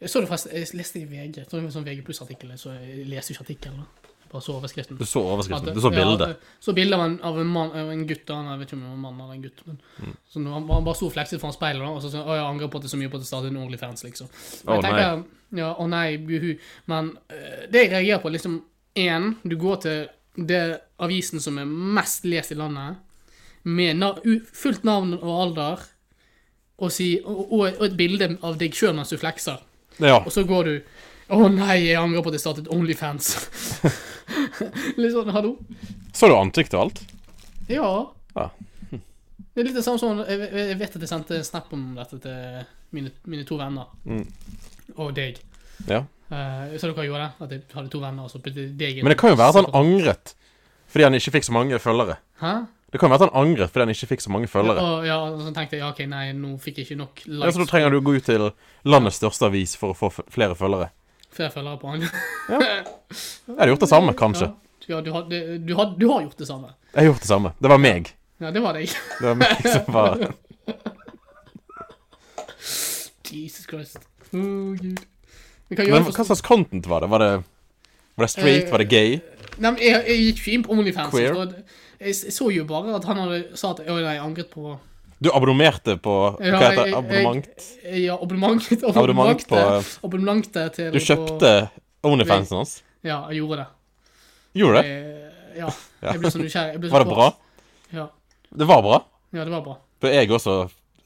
[SPEAKER 1] Jeg så det forresten, jeg leste i VG, så det var en sånn VG artikkel så jeg leste jo ikke artikkelen. da. Jeg Bare så overskriften.
[SPEAKER 2] Du så overskriften.
[SPEAKER 1] At-
[SPEAKER 2] Du så
[SPEAKER 1] Ja,
[SPEAKER 2] bildet.
[SPEAKER 1] så bildet av en, av en mann, av en gutt, da, han- jeg vet ikke om det var en mann eller en gutt, men
[SPEAKER 2] Mm.
[SPEAKER 1] så når han, han bare sto og flekset foran speilet, da, og så sånn, å jeg angrer på at det er så mye på at det startet en Onlyfans, liksom. Og
[SPEAKER 2] Å,
[SPEAKER 1] jeg tenker, ja, å nei, buhu, men eh, det jeg reagerer på, liksom, en, du går til det avisen som er mest lest i landet, med na u- fullt navn og alder, og, si, og, og, og et bilde av deg selv mens du flekser.
[SPEAKER 2] Ja.
[SPEAKER 1] Og så går du Å nei, jeg angrer på at jeg startet Onlyfans. litt sånn, hallo?
[SPEAKER 2] Så du ansiktet og alt?
[SPEAKER 1] Ja.
[SPEAKER 2] Ja.
[SPEAKER 1] Det er litt det samme som Jeg jeg- jeg vet at jeg sendte en snap om dette til mine, mine to venner.
[SPEAKER 2] Mm.
[SPEAKER 1] Og deg.
[SPEAKER 2] ja.
[SPEAKER 1] Eh, så dere gjorde det? At jeg hadde to venner, og så puttet jeg deg inn?
[SPEAKER 2] Men det kan jo være sånn at han angret fordi han ikke fikk så mange følgere.
[SPEAKER 1] Hæ?
[SPEAKER 2] Det kan jo være at han angret fordi han ikke fikk så mange følgere.
[SPEAKER 1] Og, ja, og så tenkte jeg ja, OK, nei, nå fikk jeg ikke nok
[SPEAKER 2] Ja,
[SPEAKER 1] likes.
[SPEAKER 2] så da trenger du å gå ut til landets største avis for å få f- flere følgere.
[SPEAKER 1] Flere følgere på han.
[SPEAKER 2] Jeg hadde gjort det samme, kanskje.
[SPEAKER 1] Ja, ja du, har, det- du, har, du har gjort det samme.
[SPEAKER 2] Jeg har gjort det samme. Det var meg.
[SPEAKER 1] Ja, det var deg.
[SPEAKER 2] Det var meg som var
[SPEAKER 1] Jesus Christ. Å, gud. Men hva gjør
[SPEAKER 2] Men
[SPEAKER 1] jeg
[SPEAKER 2] hva
[SPEAKER 1] for
[SPEAKER 2] slags content var det? Var det, var det straight? Var det gay?
[SPEAKER 1] Nei, men jeg, jeg gikk ikke inn på Onlyfans.
[SPEAKER 2] Queer?
[SPEAKER 1] for at- Jeg, s- jeg så jo bare at han hadde sa at Å nei, jeg angret på
[SPEAKER 2] Du abonnerte på Hva
[SPEAKER 1] Ja,
[SPEAKER 2] heter
[SPEAKER 1] jeg-
[SPEAKER 2] det?
[SPEAKER 1] jeg-
[SPEAKER 2] Abonnement?
[SPEAKER 1] Ja, abonnementet.
[SPEAKER 2] Abonnement på eh,
[SPEAKER 1] Abonnementet til
[SPEAKER 2] Du kjøpte Onlyfansen hans?
[SPEAKER 1] Ja, jeg gjorde det.
[SPEAKER 2] Gjorde du det?
[SPEAKER 1] Eh, ja.
[SPEAKER 2] Ja.
[SPEAKER 1] Jeg ble så nysgjerrig. jeg ble så
[SPEAKER 2] Var det
[SPEAKER 1] kåt.
[SPEAKER 2] bra?
[SPEAKER 1] Ja.
[SPEAKER 2] Det var bra.
[SPEAKER 1] ja, det var bra.
[SPEAKER 2] Bør jeg også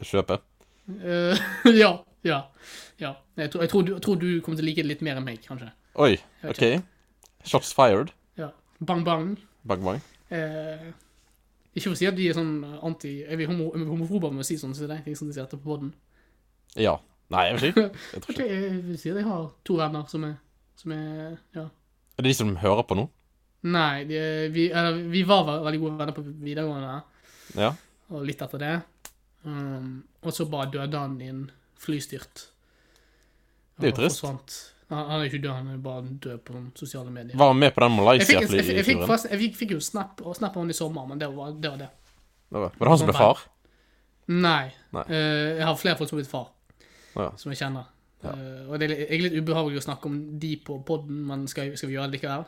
[SPEAKER 2] kjøpe?
[SPEAKER 1] Eh, ja. Ja. ja. Jeg, tror, jeg, tror du, jeg tror du kommer til å like det litt mer enn meg, kanskje.
[SPEAKER 2] Oi,
[SPEAKER 1] Jeg vet
[SPEAKER 2] OK. Shots fired.
[SPEAKER 1] Ja. Bang Bang.
[SPEAKER 2] Bang, bang.
[SPEAKER 1] Eh, ikke for å si at vi er sånn anti... Er vi homo, er vi homofobe med å si sånn, så det er ting som de sier etterpå på podden.
[SPEAKER 2] Ja. Nei, jeg vet ikke. Jeg tror
[SPEAKER 1] Ok,
[SPEAKER 2] ikke.
[SPEAKER 1] jeg vil si at jeg har to venner som er... Som er ja.
[SPEAKER 2] Er det de som hører på nå?
[SPEAKER 1] Nei, de, vi, eller, vi var ve- veldig gode venner på videregående,
[SPEAKER 2] Ja.
[SPEAKER 1] og litt etter det. Um, og så bare døde han i en flystyrt.
[SPEAKER 2] Det er jo
[SPEAKER 1] Og
[SPEAKER 2] trist.
[SPEAKER 1] forsvant. Han, han er ikke død, han er bare død på sosiale medier.
[SPEAKER 2] Var han med på den
[SPEAKER 1] Jeg fikk, jeg, jeg, jeg, fikk,
[SPEAKER 2] Malaysia-flyturen?
[SPEAKER 1] forresten- jeg fikk, fikk jo snap, og snap av han i sommer, men det var det. Var det.
[SPEAKER 2] Var det han som ble far?
[SPEAKER 1] Nei.
[SPEAKER 2] Nei.
[SPEAKER 1] Eh, jeg har flere folk som har blitt far,
[SPEAKER 2] Å, ja.
[SPEAKER 1] som jeg kjenner.
[SPEAKER 2] Ja.
[SPEAKER 1] Eh, og det er egentlig litt ubehagelig å snakke om de på podden, men skal, skal vi gjøre det likevel?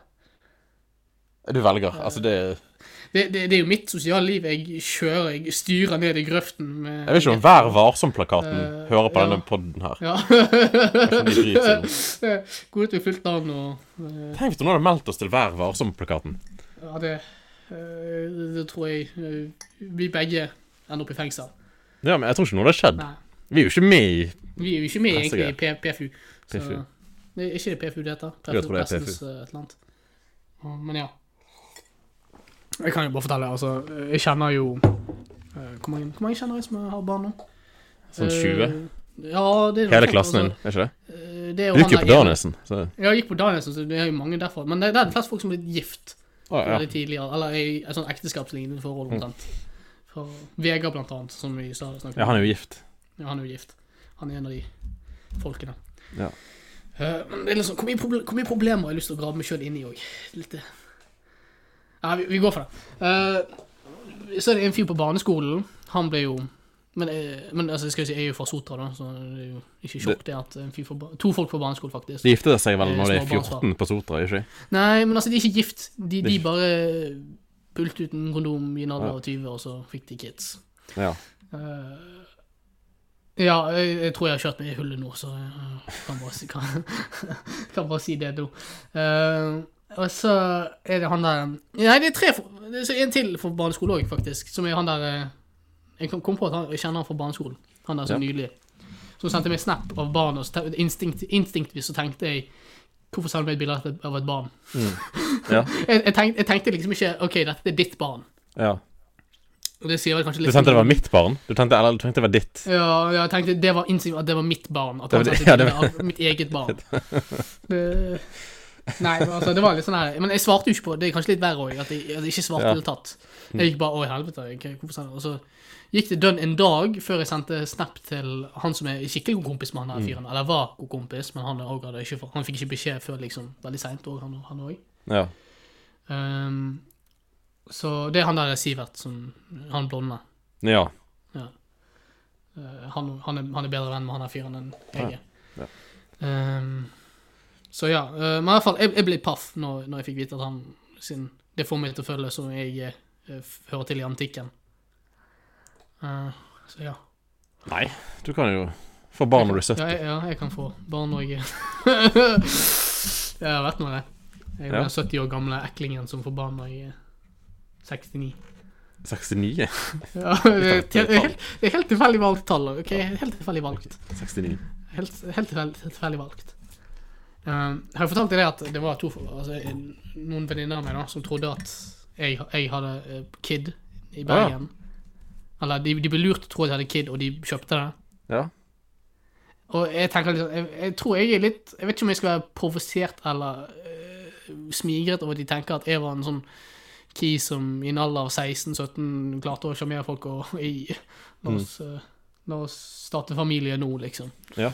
[SPEAKER 2] Du velger. Altså, det
[SPEAKER 1] Det, det, det er jo mitt sosiale liv. Jeg kjører, jeg styrer ned i grøften med
[SPEAKER 2] Jeg vet ikke om Vær varsom-plakaten
[SPEAKER 1] Eh,
[SPEAKER 2] hører på
[SPEAKER 1] ja.
[SPEAKER 2] denne podden her.
[SPEAKER 1] Ja.
[SPEAKER 2] om de driter
[SPEAKER 1] Gå ut med fullt navn og eh,
[SPEAKER 2] Tenk hvis du nå hadde meldt oss til Vær varsom-plakaten.
[SPEAKER 1] Ja, det eh, Det tror jeg eh, vi begge ender opp i fengsel.
[SPEAKER 2] Ja, men jeg tror ikke noe hadde skjedd.
[SPEAKER 1] Nei.
[SPEAKER 2] Vi er jo ikke med i
[SPEAKER 1] Vi er jo ikke med egentlig i
[SPEAKER 2] Pressegreier.
[SPEAKER 1] P- PFU. Så,
[SPEAKER 2] PFU.
[SPEAKER 1] Nei, er ikke det PFU det heter?
[SPEAKER 2] Jeg tror det er
[SPEAKER 1] Pressens, eh, et eller annet. Ja, Men ja. Jeg kan jo bare fortelle, altså. Jeg kjenner jo eh, Hvor mange, hvor mange kjenner jeg som har barn nå?
[SPEAKER 2] Sånn
[SPEAKER 1] Eh,
[SPEAKER 2] 20?
[SPEAKER 1] Ja, det er noe
[SPEAKER 2] hele
[SPEAKER 1] sånt,
[SPEAKER 2] klassen din,
[SPEAKER 1] altså.
[SPEAKER 2] er ikke det?
[SPEAKER 1] Eh, det er
[SPEAKER 2] Du
[SPEAKER 1] han
[SPEAKER 2] gikk jo
[SPEAKER 1] der
[SPEAKER 2] på
[SPEAKER 1] ene-
[SPEAKER 2] Danielsen. Så...
[SPEAKER 1] Ja, jeg gikk på Danielsen, så det er jo mange derfra. Men det, det er de fleste folk som er blitt gift
[SPEAKER 2] Å, ja. Mm.
[SPEAKER 1] veldig tidligere. Eller i et sånn ekteskapslignende forhold, omtrent. For Vegard, blant annet, som vi sa snakket om.
[SPEAKER 2] ja, han er jo gift.
[SPEAKER 1] Ja, han er jo gift. Han er en av de folkene.
[SPEAKER 2] Ja.
[SPEAKER 1] Eh, men det er liksom, hvor, mye proble hvor mye problemer har jeg lyst til å grave meg sjøl inn i òg? Litt eh. Nei, vi, vi går for det. Eh, så er det en fyr på barneskolen. Han ble jo Men, eh, men altså, skal jeg si, jeg er jo fra Sotra, da, så det er jo ikke sjokk det at en fyr fra bar- to folk på barneskolen, faktisk.
[SPEAKER 2] De giftet seg vel når de er
[SPEAKER 1] Eh, Små barn, så.
[SPEAKER 2] 14 på Sotra, ikke sant?
[SPEAKER 1] Nei, men altså, de er ikke gift. De,
[SPEAKER 2] er
[SPEAKER 1] de
[SPEAKER 2] ikke-
[SPEAKER 1] bare pulte uten kondom i en alder
[SPEAKER 2] Ja.
[SPEAKER 1] av 20, og så fikk de kids.
[SPEAKER 2] Ja.
[SPEAKER 1] Eh, ja, jeg, jeg tror jeg har kjørt meg i hullet nå, så jeg kan bare, si- kan, kan bare si det nå. Eh, og så er det han der Nei, det er tre for, det er så en til for barneskole òg, faktisk. Som er han der eh, Jeg kom- kom på at han, jeg kjenner han fra barneskolen. Han der så
[SPEAKER 2] Ja.
[SPEAKER 1] nydelig. Som sendte meg snap av barn, og så te- instinkt, instinktvis så tenkte jeg Hvorfor sender du meg et bilde av et- av et barn?
[SPEAKER 2] Ja.
[SPEAKER 1] Jeg, jeg, tenkte, jeg tenkte liksom ikke OK, dette er ditt barn.
[SPEAKER 2] ja.
[SPEAKER 1] Og det sier vel kanskje
[SPEAKER 2] Du
[SPEAKER 1] litt
[SPEAKER 2] tenkte det var mitt barn? Du tenkte, eller, du tenkte det var ditt?
[SPEAKER 1] Ja, ja, jeg tenkte det var innsyn at det var mitt barn. At
[SPEAKER 2] Det
[SPEAKER 1] han
[SPEAKER 2] var det-
[SPEAKER 1] tenkte
[SPEAKER 2] ja,
[SPEAKER 1] det
[SPEAKER 2] det
[SPEAKER 1] var mitt eget barn. Det, nei, men altså, det var litt sånn her Men jeg svarte jo ikke på det. er kanskje litt verre òg, at, jeg- at jeg ikke svarte i det
[SPEAKER 2] Ja.
[SPEAKER 1] hele tatt. Jeg gikk bare å, i helvete. jeg- Hvorfor sender jeg Og så gikk det dønn en dag før jeg sendte snap til han som er skikkelig god kompis med han
[SPEAKER 2] Mm.
[SPEAKER 1] der fyren. Eller var god kompis, men han, er også- hadde ikke, fått- han fikk ikke beskjed før liksom veldig seint òg, han han òg.
[SPEAKER 2] Ja.
[SPEAKER 1] Ehm, så det er han der Sivert, som, han blonde.
[SPEAKER 2] ja.
[SPEAKER 1] Eh, han, han, er, han er bedre venn med han her fyren enn jeg er.
[SPEAKER 2] Ja.
[SPEAKER 1] Ehm, så ja. eh, men i hvert fall, jeg, jeg ble paff når, når jeg fikk vite at han sin Det får meg til å føle som jeg eh, f- hører til i antikken. Eh, så ja.
[SPEAKER 2] Nei, du kan jo få barn når du er
[SPEAKER 1] Ja,
[SPEAKER 2] 70.
[SPEAKER 1] jeg, ja, jeg kan få barn og jeg Jeg har vært med det. Jeg er
[SPEAKER 2] Ja.
[SPEAKER 1] den 70 år gamle eklingen som får barn når jeg er 69.
[SPEAKER 2] 69?
[SPEAKER 1] Ja, det, er til- det er helt, det er helt tilfeldig valgt tall. ok? Helt tilfeldig valgt.
[SPEAKER 2] 69.
[SPEAKER 1] Helt, helt tilfell- tilfeldig valgt. Um, har jeg fortalt deg det at det var to, altså, en- noen venninner av meg da, som trodde at jeg, jeg hadde eh, KID i Bergen? Eller de, de ble lurt til å tro at jeg hadde KID, og de kjøpte det.
[SPEAKER 2] Ja.
[SPEAKER 1] Og jeg tenker liksom, jeg, jeg tror jeg er litt Jeg vet ikke om jeg skal være provosert eller eh, smigret over at de tenker at jeg var en sånn key som i en alder av 16-17 klarte å sjarmere folk og i,
[SPEAKER 2] Mm.
[SPEAKER 1] la, oss, eh, la oss starte familie nå, liksom.
[SPEAKER 2] Ja.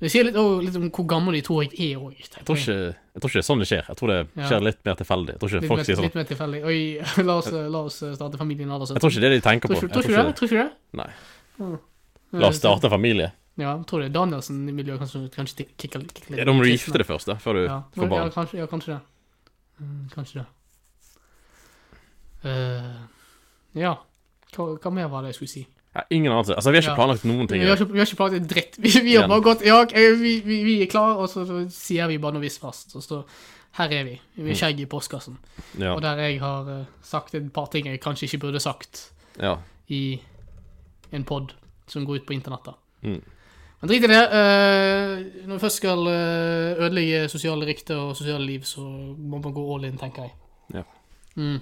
[SPEAKER 1] Det sier litt, også litt om hvor gammel de tror jeg er òg. Jeg
[SPEAKER 2] Jeg tror, ikke, jeg tror ikke det er sånn det skjer. Jeg tror det
[SPEAKER 1] Ja.
[SPEAKER 2] skjer litt mer tilfeldig. Jeg tror ikke
[SPEAKER 1] litt,
[SPEAKER 2] folk
[SPEAKER 1] mer-
[SPEAKER 2] sier sånn
[SPEAKER 1] litt mer tilfeldig. Oi, la oss, la oss starte familien i en alder av
[SPEAKER 2] Jeg tror ikke det er det de tenker på.
[SPEAKER 1] Tror ikke, tror
[SPEAKER 2] Jeg
[SPEAKER 1] ikke du det? Tror ikke du det?
[SPEAKER 2] Nei. La oss starte en familie.
[SPEAKER 1] Ja, jeg tror det. Danielsen-miljøet kanskje, kanskje kicker litt.
[SPEAKER 2] Ja, Da må du gifte deg først, da, før du
[SPEAKER 1] Ja,
[SPEAKER 2] får
[SPEAKER 1] ja,
[SPEAKER 2] barn.
[SPEAKER 1] kanskje, ja, kanskje det. Mm, kanskje det. Eh, ja. Hva, hva mer var det jeg skulle si?
[SPEAKER 2] Ja, ingen anelse. Altså, vi har ikke
[SPEAKER 1] Ja.
[SPEAKER 2] planlagt noen ting.
[SPEAKER 1] Vi har ikke, vi har ikke pratet dritt. Vi, vi har
[SPEAKER 2] Igjen.
[SPEAKER 1] bare gått ja, ok, vi, vi, vi er klare, og så sier vi bare når vi er fast. Og så her er vi. Vi er skjegg i postkassen.
[SPEAKER 2] Mm. Ja,
[SPEAKER 1] Og der jeg har eh, sagt et par ting jeg kanskje ikke burde sagt
[SPEAKER 2] ja.
[SPEAKER 1] i en pod som går ut på internettet.
[SPEAKER 2] Mm.
[SPEAKER 1] Men drit i det. eh, når vi først skal eh, ødelegge sosiale rykter og sosiale liv, så må man gå all in, tenker jeg.
[SPEAKER 2] Ja.
[SPEAKER 1] Mm.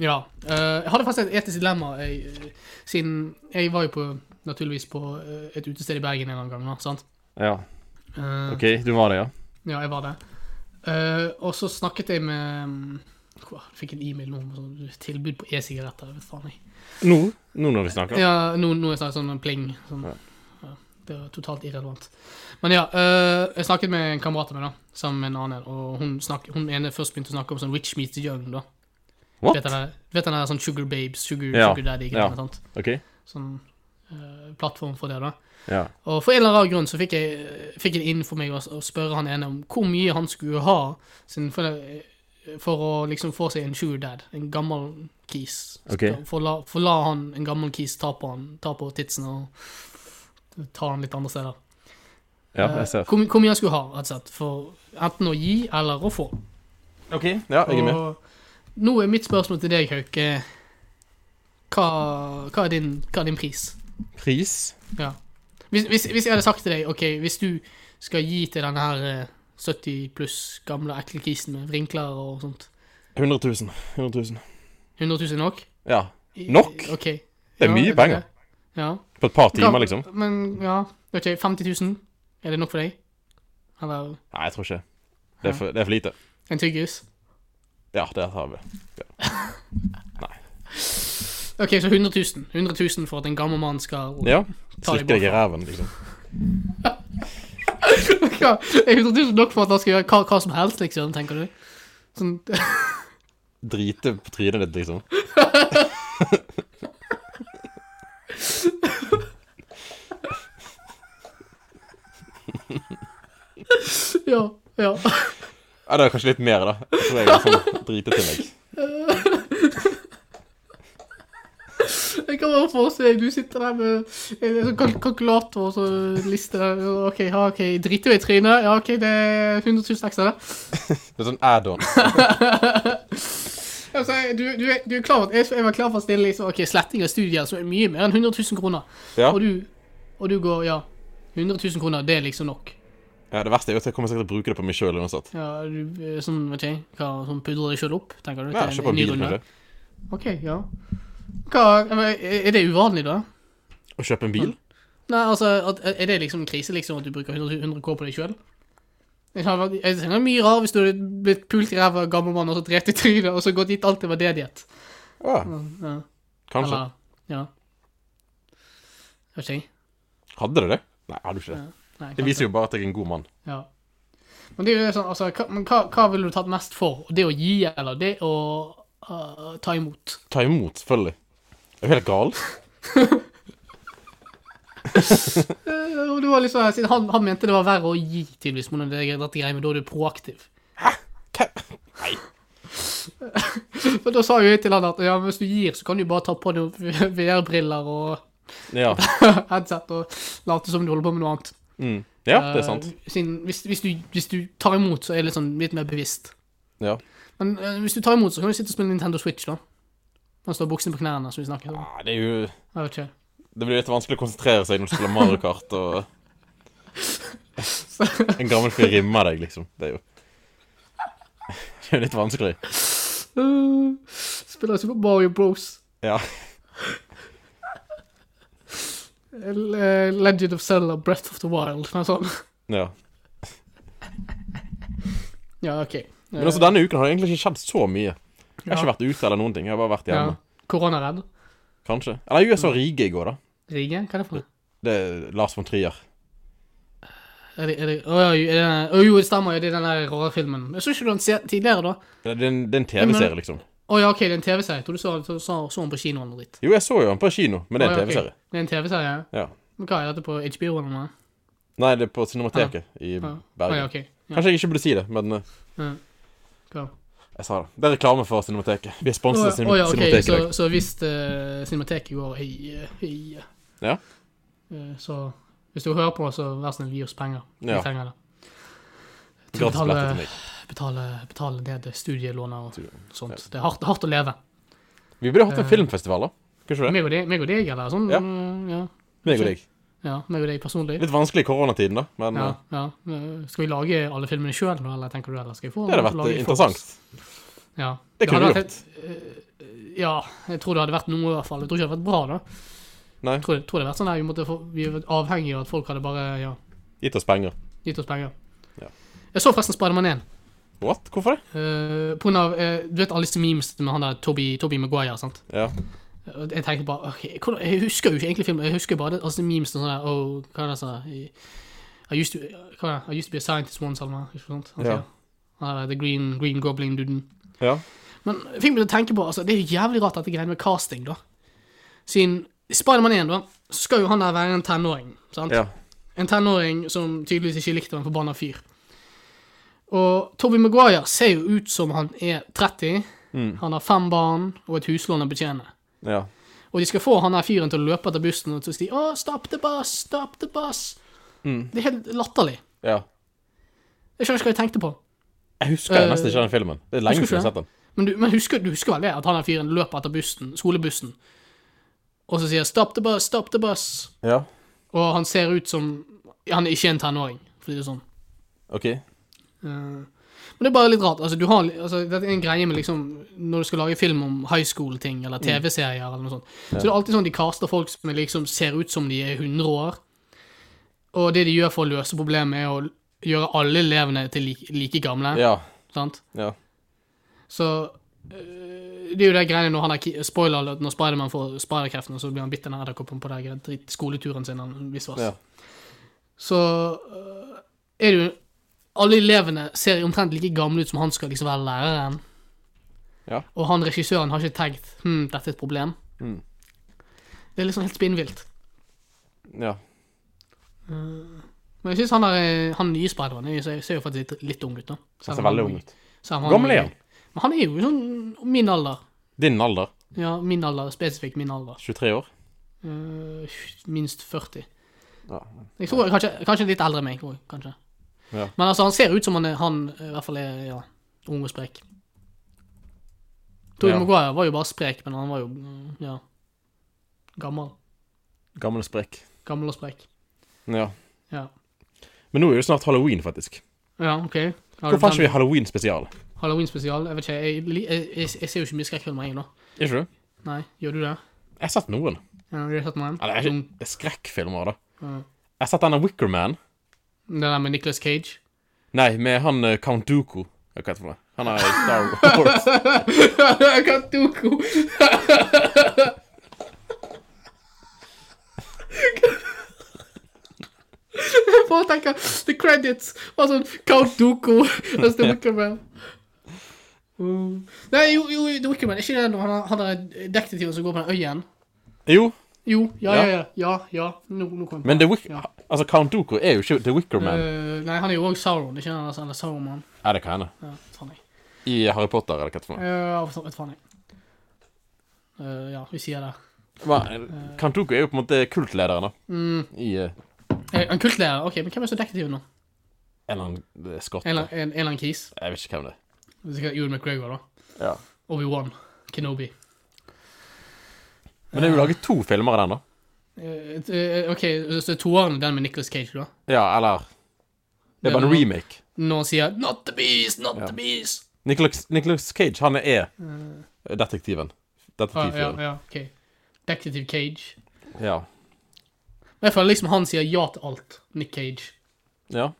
[SPEAKER 1] Ja. eh, jeg hadde faktisk et etisk dilemma, jeg, eh, siden jeg var jo på, naturligvis på eh, et utested i Bergen en eller annen gang. Da, sant?
[SPEAKER 2] ja.
[SPEAKER 1] Eh,
[SPEAKER 2] OK, du var det, ja?
[SPEAKER 1] ja, jeg var det. Eh, og så snakket jeg med mm, hva, Jeg fikk en e-mail nå om sånn tilbud på e-sigaretter. jeg Vet faen jeg.
[SPEAKER 2] Nå? Nå når vi snakker?
[SPEAKER 1] Ja, nå, nå er det snart sånn en pling. Sånn.
[SPEAKER 2] Ja.
[SPEAKER 1] Ja, det er totalt irrelevant. Men ja, øh, jeg snakket med en kamerat av meg, da, sammen med en annen, og hun, snak, hun ene først begynte å snakke om sånn Rich meets young, da.
[SPEAKER 2] What?
[SPEAKER 1] Vet du den der- vet du den der sånn Sugar Babes, Sugar,
[SPEAKER 2] Ja,
[SPEAKER 1] sugar
[SPEAKER 2] ja.
[SPEAKER 1] Daddy-greiene? sant?
[SPEAKER 2] OK?
[SPEAKER 1] Sånn øh, plattform for det, da.
[SPEAKER 2] Ja.
[SPEAKER 1] Og for en eller annen grunn så fikk jeg, fikk jeg det inn for meg å, å spørre han ene om hvor mye han skulle ha siden for, det- for å liksom få seg en sugar dad, en gammel kis.
[SPEAKER 2] Ok.
[SPEAKER 1] Så For, å la, for å la han, en gammel kis ta på, han, ta på titsen og ta han litt andre steder.
[SPEAKER 2] Ja,
[SPEAKER 1] Eh,
[SPEAKER 2] jeg ser.
[SPEAKER 1] Hvor, my- hvor mye han skulle ha, rett og slett. For enten å gi eller å få.
[SPEAKER 2] OK, ja, jeg er med.
[SPEAKER 1] Og nå er mitt spørsmål til deg, Hauke. Hva, hva, er din, hva er din pris?
[SPEAKER 2] Pris?
[SPEAKER 1] Ja. Hvis, hvis, hvis jeg hadde sagt til deg Ok, hvis du skal gi til denne her eh, 70 pluss gamle ekle kisen med vrinkler og sånt
[SPEAKER 2] 100 000. 100 000.
[SPEAKER 1] 100 000 nok?
[SPEAKER 2] Ja.
[SPEAKER 1] I-
[SPEAKER 2] Nok?
[SPEAKER 1] Ok.
[SPEAKER 2] Det er mye
[SPEAKER 1] det
[SPEAKER 2] penger.
[SPEAKER 1] det. Ja.
[SPEAKER 2] På et par
[SPEAKER 1] Ga-
[SPEAKER 2] timer, liksom?
[SPEAKER 1] Men ja, ok, 50 000? Er det nok for deg? Eller
[SPEAKER 2] Nei, jeg tror ikke. Det er for, det er for lite.
[SPEAKER 1] en tyggis?
[SPEAKER 2] Ja, det har vi.
[SPEAKER 1] Ok, så 100 000. 100 000 for at en gammel mann skal
[SPEAKER 2] Ja.
[SPEAKER 1] Ta deg
[SPEAKER 2] Slikke deg i ræven, liksom.
[SPEAKER 1] Ja, Er 100 000 nok for at han skal gjøre hva, hva som helst, liksom, tenker du? Sånn,
[SPEAKER 2] Drite på trynet ditt, liksom.
[SPEAKER 1] ja, ja.
[SPEAKER 2] Ja, det er kanskje litt mer, da. Jeg tror jeg er sånn dritetillegg.
[SPEAKER 1] Jeg kan bare forestille deg, du sitter der med en sånn kalk- kalkulator og så liste der. og Ok, ja, ok, driter du i trynet? Ja, ok, det er 100 000 ekstra. det.
[SPEAKER 2] Det er sånn add-on.
[SPEAKER 1] Altså, du, du, er- du er klar over at jeg, jeg var klar for å stille liksom, ok, sletting av studier som er mye mer enn 100 000 kroner.
[SPEAKER 2] Ja.
[SPEAKER 1] Og, du, og du går, ja, 100 000 kroner, det er liksom nok.
[SPEAKER 2] ja, det verste er jo at jeg kommer sikkert til å bruke det på meg sjøl uansett.
[SPEAKER 1] Ja, du, eh, sånn, vet ikke, hva, sånn pudrer deg selv opp, tenker du?
[SPEAKER 2] Ja,
[SPEAKER 1] til en-
[SPEAKER 2] kjøpe
[SPEAKER 1] en
[SPEAKER 2] en
[SPEAKER 1] ny
[SPEAKER 2] bil,
[SPEAKER 1] runde.
[SPEAKER 2] kanskje.
[SPEAKER 1] Ok, ja. Hva, men er er det uvanlig da?
[SPEAKER 2] Å kjøpe en bil?
[SPEAKER 1] Nei, altså, at, er det liksom en krise liksom at du bruker 100, 100 K på deg sjøl? Jeg tenker det er mye rar hvis du hadde blitt pult i ræva av en gammel mann og så drept i trynet, og så gått dit alt til veldedighet.
[SPEAKER 2] Ja,
[SPEAKER 1] Ja.
[SPEAKER 2] kanskje.
[SPEAKER 1] Eller, ja. Jeg vet ikke.
[SPEAKER 2] Hadde du det? Nei, hadde du ikke det.
[SPEAKER 1] Nei,
[SPEAKER 2] Det viser jo bare at jeg er en god mann.
[SPEAKER 1] Ja. Men det er jo sånn, altså, hva, men hva, hva ville du tatt mest for? Det å gi, eller det å øh, ta imot?
[SPEAKER 2] Ta imot, selvfølgelig. Er du helt gal?
[SPEAKER 1] Eh, og det var liksom, siden han, han mente det var verre å gi, tydeligvis, men det er dette greiene, men da er du proaktiv.
[SPEAKER 2] Hva? Nei.
[SPEAKER 1] For da sa jo jeg til han at ja, men hvis du gir, så kan du bare ta på deg VR-briller og
[SPEAKER 2] Ja.
[SPEAKER 1] headset og late som du holder på med noe annet.
[SPEAKER 2] Mm. ja, det er sant.
[SPEAKER 1] Eh, siden, hvis, hvis, du, hvis du tar imot, så er det litt, sånn, litt mer bevisst.
[SPEAKER 2] Ja.
[SPEAKER 1] Men eh, hvis du tar imot, så kan du sitte og spille Nintendo Switch, da. Mens du har buksene på knærne, som vi snakket om.
[SPEAKER 2] Ja, Det er jo
[SPEAKER 1] Jeg vet ikke.
[SPEAKER 2] Det blir litt vanskelig å konsentrere seg når du spiller Mario Kart og En gammel fyr rimmer deg, liksom. Det er jo Det er jo litt vanskelig.
[SPEAKER 1] Eh, spiller Super Mario Bros.
[SPEAKER 2] Ja.
[SPEAKER 1] Eh, Legend of Zelda, Breath of the Wild, sånn. noe sånt.
[SPEAKER 2] ja.
[SPEAKER 1] Ja, OK. Eh,
[SPEAKER 2] Men også denne uken har det egentlig ikke skjedd så mye. Jeg har
[SPEAKER 1] Ja.
[SPEAKER 2] ikke vært ute eller noen ting. Jeg har bare vært
[SPEAKER 1] ja.
[SPEAKER 2] hjemme.
[SPEAKER 1] Koronaredd.
[SPEAKER 2] Kanskje. Eller jeg så Rige i går, da.
[SPEAKER 1] Rige? Hva er det for noe?
[SPEAKER 2] Det er Lars von Trier.
[SPEAKER 1] Er det, er det, å, ja, er det, den- å, jo, det stemmer. ja, Det er den der rare filmen. Jeg så ikke du den se- tidligere, da.
[SPEAKER 2] Det er en, det er en TV-serie, liksom.
[SPEAKER 1] Å ja, OK, det er en TV-serie. Jeg tror du så, så, så, så den på kino eller noe dritt.
[SPEAKER 2] Jo, jeg så jo han på kino, men det
[SPEAKER 1] Å,
[SPEAKER 2] er en
[SPEAKER 1] ja, ok.
[SPEAKER 2] TV-serie.
[SPEAKER 1] Det er en TV-serie?
[SPEAKER 2] Ja.
[SPEAKER 1] Men hva er dette på HBO eller noe?
[SPEAKER 2] Nei, det er på Cinemateket i
[SPEAKER 1] Ja. Å ja,
[SPEAKER 2] Bergen.
[SPEAKER 1] ok. Ja.
[SPEAKER 2] Kanskje jeg ikke burde si det, men eh,
[SPEAKER 1] Ja. Hva?
[SPEAKER 2] jeg sa det. Det er reklame for Cinemateket. Vi er sponset av
[SPEAKER 1] Å
[SPEAKER 2] Cinem
[SPEAKER 1] ja, ok,
[SPEAKER 2] Cinemateket. i
[SPEAKER 1] så,
[SPEAKER 2] dag.
[SPEAKER 1] så hvis eh, Cinemateket går i, eh, i eh,
[SPEAKER 2] Ja.
[SPEAKER 1] eh, Så hvis du hører på, så vær så snill, gi oss penger. Vi
[SPEAKER 2] Ja.
[SPEAKER 1] trenger det. Til å
[SPEAKER 2] Gratis
[SPEAKER 1] betale,
[SPEAKER 2] billetter til deg.
[SPEAKER 1] betale, betale ned studielånet og
[SPEAKER 2] Studielån,
[SPEAKER 1] sånt.
[SPEAKER 2] ja.
[SPEAKER 1] Det er hardt, hardt å leve.
[SPEAKER 2] Vi burde hatt en
[SPEAKER 1] Eh,
[SPEAKER 2] filmfestival, da. Kanskje det?
[SPEAKER 1] Meg og deg, meg og deg eller sånn.
[SPEAKER 2] Ja.
[SPEAKER 1] eh, Ja.
[SPEAKER 2] Meg og deg.
[SPEAKER 1] ja. Meg og deg personlig.
[SPEAKER 2] Litt vanskelig i koronatiden, da, men
[SPEAKER 1] Ja,
[SPEAKER 2] eh,
[SPEAKER 1] ja. Eh, Skal vi lage alle filmene sjøl nå, eller tenker du eller skal vi få
[SPEAKER 2] det hadde
[SPEAKER 1] noen til å
[SPEAKER 2] vært eh,
[SPEAKER 1] lage for oss?
[SPEAKER 2] interessant.
[SPEAKER 1] Ja.
[SPEAKER 2] Det kunne
[SPEAKER 1] hadde
[SPEAKER 2] vi
[SPEAKER 1] vært helt- eh, Ja, jeg tror det hadde vært noe i hvert fall. Jeg tror ikke det hadde vært bra, da.
[SPEAKER 2] Nei.
[SPEAKER 1] Jeg tror, tror det hadde vært sånn her, vi, måtte få, vi var avhengig av at folk hadde bare ja,
[SPEAKER 2] Gitt oss penger.
[SPEAKER 1] gitt oss penger.
[SPEAKER 2] Ja.
[SPEAKER 1] Jeg så forresten Spiderman 1.
[SPEAKER 2] What? Hvorfor det?
[SPEAKER 1] eh, på grunn av, eh, du vet alle disse memes med han der Toby, Toby Maguire, sant?
[SPEAKER 2] Ja.
[SPEAKER 1] Og Jeg tenkte bare ok, hvordan, Jeg husker jo ikke egentlig filmen. Jeg husker bare det, altså memes og sånn der oh, Hva er det sånn I, I, used to, hva er det? I used to be a scientist once, eller noe. ikke sant? Han
[SPEAKER 2] Ja.
[SPEAKER 1] sier. Han er The Green, green Goblin-duden.
[SPEAKER 2] ja.
[SPEAKER 1] Men jeg fikk meg til å tenke på, altså, det er jo jævlig rart dette greiene med casting, da. Siden i Spiderman 1, da, så skal jo han der være en tenåring, sant?
[SPEAKER 2] ja.
[SPEAKER 1] En tenåring som tydeligvis ikke likte en forbanna fyr. Og Toby Maguire ser jo ut som han er 30,
[SPEAKER 2] Mm.
[SPEAKER 1] han har fem barn og et huslån å betjene.
[SPEAKER 2] ja.
[SPEAKER 1] Og de skal få han her fyren til å løpe etter bussen og så si 'Å, stopp the bus, stopp the bus'.
[SPEAKER 2] Mm.
[SPEAKER 1] Det er helt latterlig.
[SPEAKER 2] ja.
[SPEAKER 1] Jeg skjønner ikke hva jeg tenkte på.
[SPEAKER 2] Jeg husker
[SPEAKER 1] Eh,
[SPEAKER 2] nesten ikke den filmen. Det er lenge
[SPEAKER 1] husker ikke
[SPEAKER 2] siden jeg har sett den.
[SPEAKER 1] Men du, men husker, du husker vel det, at han der fyren løper etter bussen, skolebussen, og så sier 'stop the bus, stop the bus',
[SPEAKER 2] Ja.
[SPEAKER 1] og han ser ut som Han er ikke en tenåring, for å si det sånn.
[SPEAKER 2] OK.
[SPEAKER 1] Eh, Men det er bare litt rart. Altså, du har, altså, det er en greie med liksom Når du skal lage film om high school-ting,
[SPEAKER 2] Mm.
[SPEAKER 1] eller TV-serier, eller noe sånt, så det er alltid sånn de kaster folk som er liksom ser ut som de er 100 år, og det de gjør for å løse problemet, er å gjøre alle elevene til like, like gamle.
[SPEAKER 2] Ja.
[SPEAKER 1] Sant?
[SPEAKER 2] Ja.
[SPEAKER 1] Så øh, det er jo det greiene når han er ki- spoiler alert, når Spiderman får spiderkreftene, så blir han bitt av den edderkoppen på den greia- dritt skoleturen sin. Han visste
[SPEAKER 2] ja.
[SPEAKER 1] Så øh, er det jo Alle elevene ser omtrent like gamle ut som han skal liksom være læreren.
[SPEAKER 2] Ja.
[SPEAKER 1] Og han regissøren har ikke tenkt hm, dette er et problem.
[SPEAKER 2] Mm.
[SPEAKER 1] Det er liksom helt spinnvilt.
[SPEAKER 2] ja.
[SPEAKER 1] Men jeg syns han, er- han nye Spiderman jeg ser ser jo faktisk litt, litt ung ut, da.
[SPEAKER 2] Han ser veldig ung ut.
[SPEAKER 1] selv om
[SPEAKER 2] Gammel er han.
[SPEAKER 1] Men han er jo sånn min alder.
[SPEAKER 2] Din alder?
[SPEAKER 1] Ja, min alder, spesifikt min alder.
[SPEAKER 2] 23 år?
[SPEAKER 1] Eh, minst 40.
[SPEAKER 2] Ja.
[SPEAKER 1] Jeg tror kanskje, kanskje litt eldre enn meg òg, kanskje.
[SPEAKER 2] Ja.
[SPEAKER 1] Men altså, han ser ut som han, er, han eh, i hvert fall er ja, ung og sprek. Tore
[SPEAKER 2] Ja.
[SPEAKER 1] Maguire var jo bare sprek, men han var jo mm, ja, gammel.
[SPEAKER 2] Gammel og sprek.
[SPEAKER 1] Gammel og sprek.
[SPEAKER 2] Ja.
[SPEAKER 1] Ja,
[SPEAKER 2] Men nå er jo snart halloween, faktisk.
[SPEAKER 1] ja OK. Har du
[SPEAKER 2] Hvorfor har ikke
[SPEAKER 1] bestemt
[SPEAKER 2] vi halloween-spesial?
[SPEAKER 1] Halloween-spesial? Jeg vet ikke, jeg, li- jeg, jeg, jeg ser jo ikke mye skrekkfilmer, jeg, da.
[SPEAKER 2] Ikke du?
[SPEAKER 1] Nei, gjør du det?
[SPEAKER 2] Jeg har sett noen.
[SPEAKER 1] Ja, har du sett noen?
[SPEAKER 2] Eller jeg har
[SPEAKER 1] Som-
[SPEAKER 2] ikke det er skrekkfilmer, da.
[SPEAKER 1] Ja.
[SPEAKER 2] Jeg har sett denne Wickerman.
[SPEAKER 1] Den der med Nicolas Cage?
[SPEAKER 2] Nei, med han eh, Count Dooku. Hva heter han? for noe? Han er i Star Wars.
[SPEAKER 1] Katuko! Jeg bare tenker The eh, credits var sånn Count Dooku mens The Wicker Man. Mm. Nei, jo, jo, The Wicker Man. Er ikke det når han, han er detektiven som går på den øyen?
[SPEAKER 2] Jo,
[SPEAKER 1] Jo, ja,
[SPEAKER 2] Ja.
[SPEAKER 1] ja, ja. ja, ja. Nå, nå kom jeg på
[SPEAKER 2] men The Wick...
[SPEAKER 1] Ja.
[SPEAKER 2] Altså, Count Dooku er jo ikke The Wicker Man.
[SPEAKER 1] Eh, nei, han er jo òg Sauron. Ikke han, altså, eller Sauroman.
[SPEAKER 2] Er det hva henne?
[SPEAKER 1] Ja, faen jeg.
[SPEAKER 2] I Harry Potter, eller hva heter det for noe?
[SPEAKER 1] Uh, vet faen jeg. Eh, ja, vi sier det.
[SPEAKER 2] Hva- Eh, Count Dooku er jo på en måte kultlederen, da.
[SPEAKER 1] Mm.
[SPEAKER 2] I eh,
[SPEAKER 1] Eh, En kultlærer? Ok, men hvem er så detektiv nå?
[SPEAKER 2] en eller annen eh, skott.
[SPEAKER 1] En eller en- en eller annen kis?
[SPEAKER 2] Jeg vet ikke hvem det er.
[SPEAKER 1] Sikkert Ewan McGregor, da.
[SPEAKER 2] Ja.
[SPEAKER 1] Obi-Wan. Kenobi.
[SPEAKER 2] Men det er jo laget to filmer av den, da.
[SPEAKER 1] Eh, eh, ok, så- så toeren er den med Nicolas Cage, da?
[SPEAKER 2] Ja, eller Det er bare en
[SPEAKER 1] Den-
[SPEAKER 2] remake.
[SPEAKER 1] Når han sier 'Not the beast, not
[SPEAKER 2] Ja.
[SPEAKER 1] the beast'.
[SPEAKER 2] Nicolas, Nicolas Cage, han er eh, detektiven.
[SPEAKER 1] Eh. Ah, ja,
[SPEAKER 2] Detektivfyren.
[SPEAKER 1] ja, ok. Detektiv Cage.
[SPEAKER 2] Ja.
[SPEAKER 1] Men Jeg føler liksom han sier ja til alt, Nick Cage.
[SPEAKER 2] ja.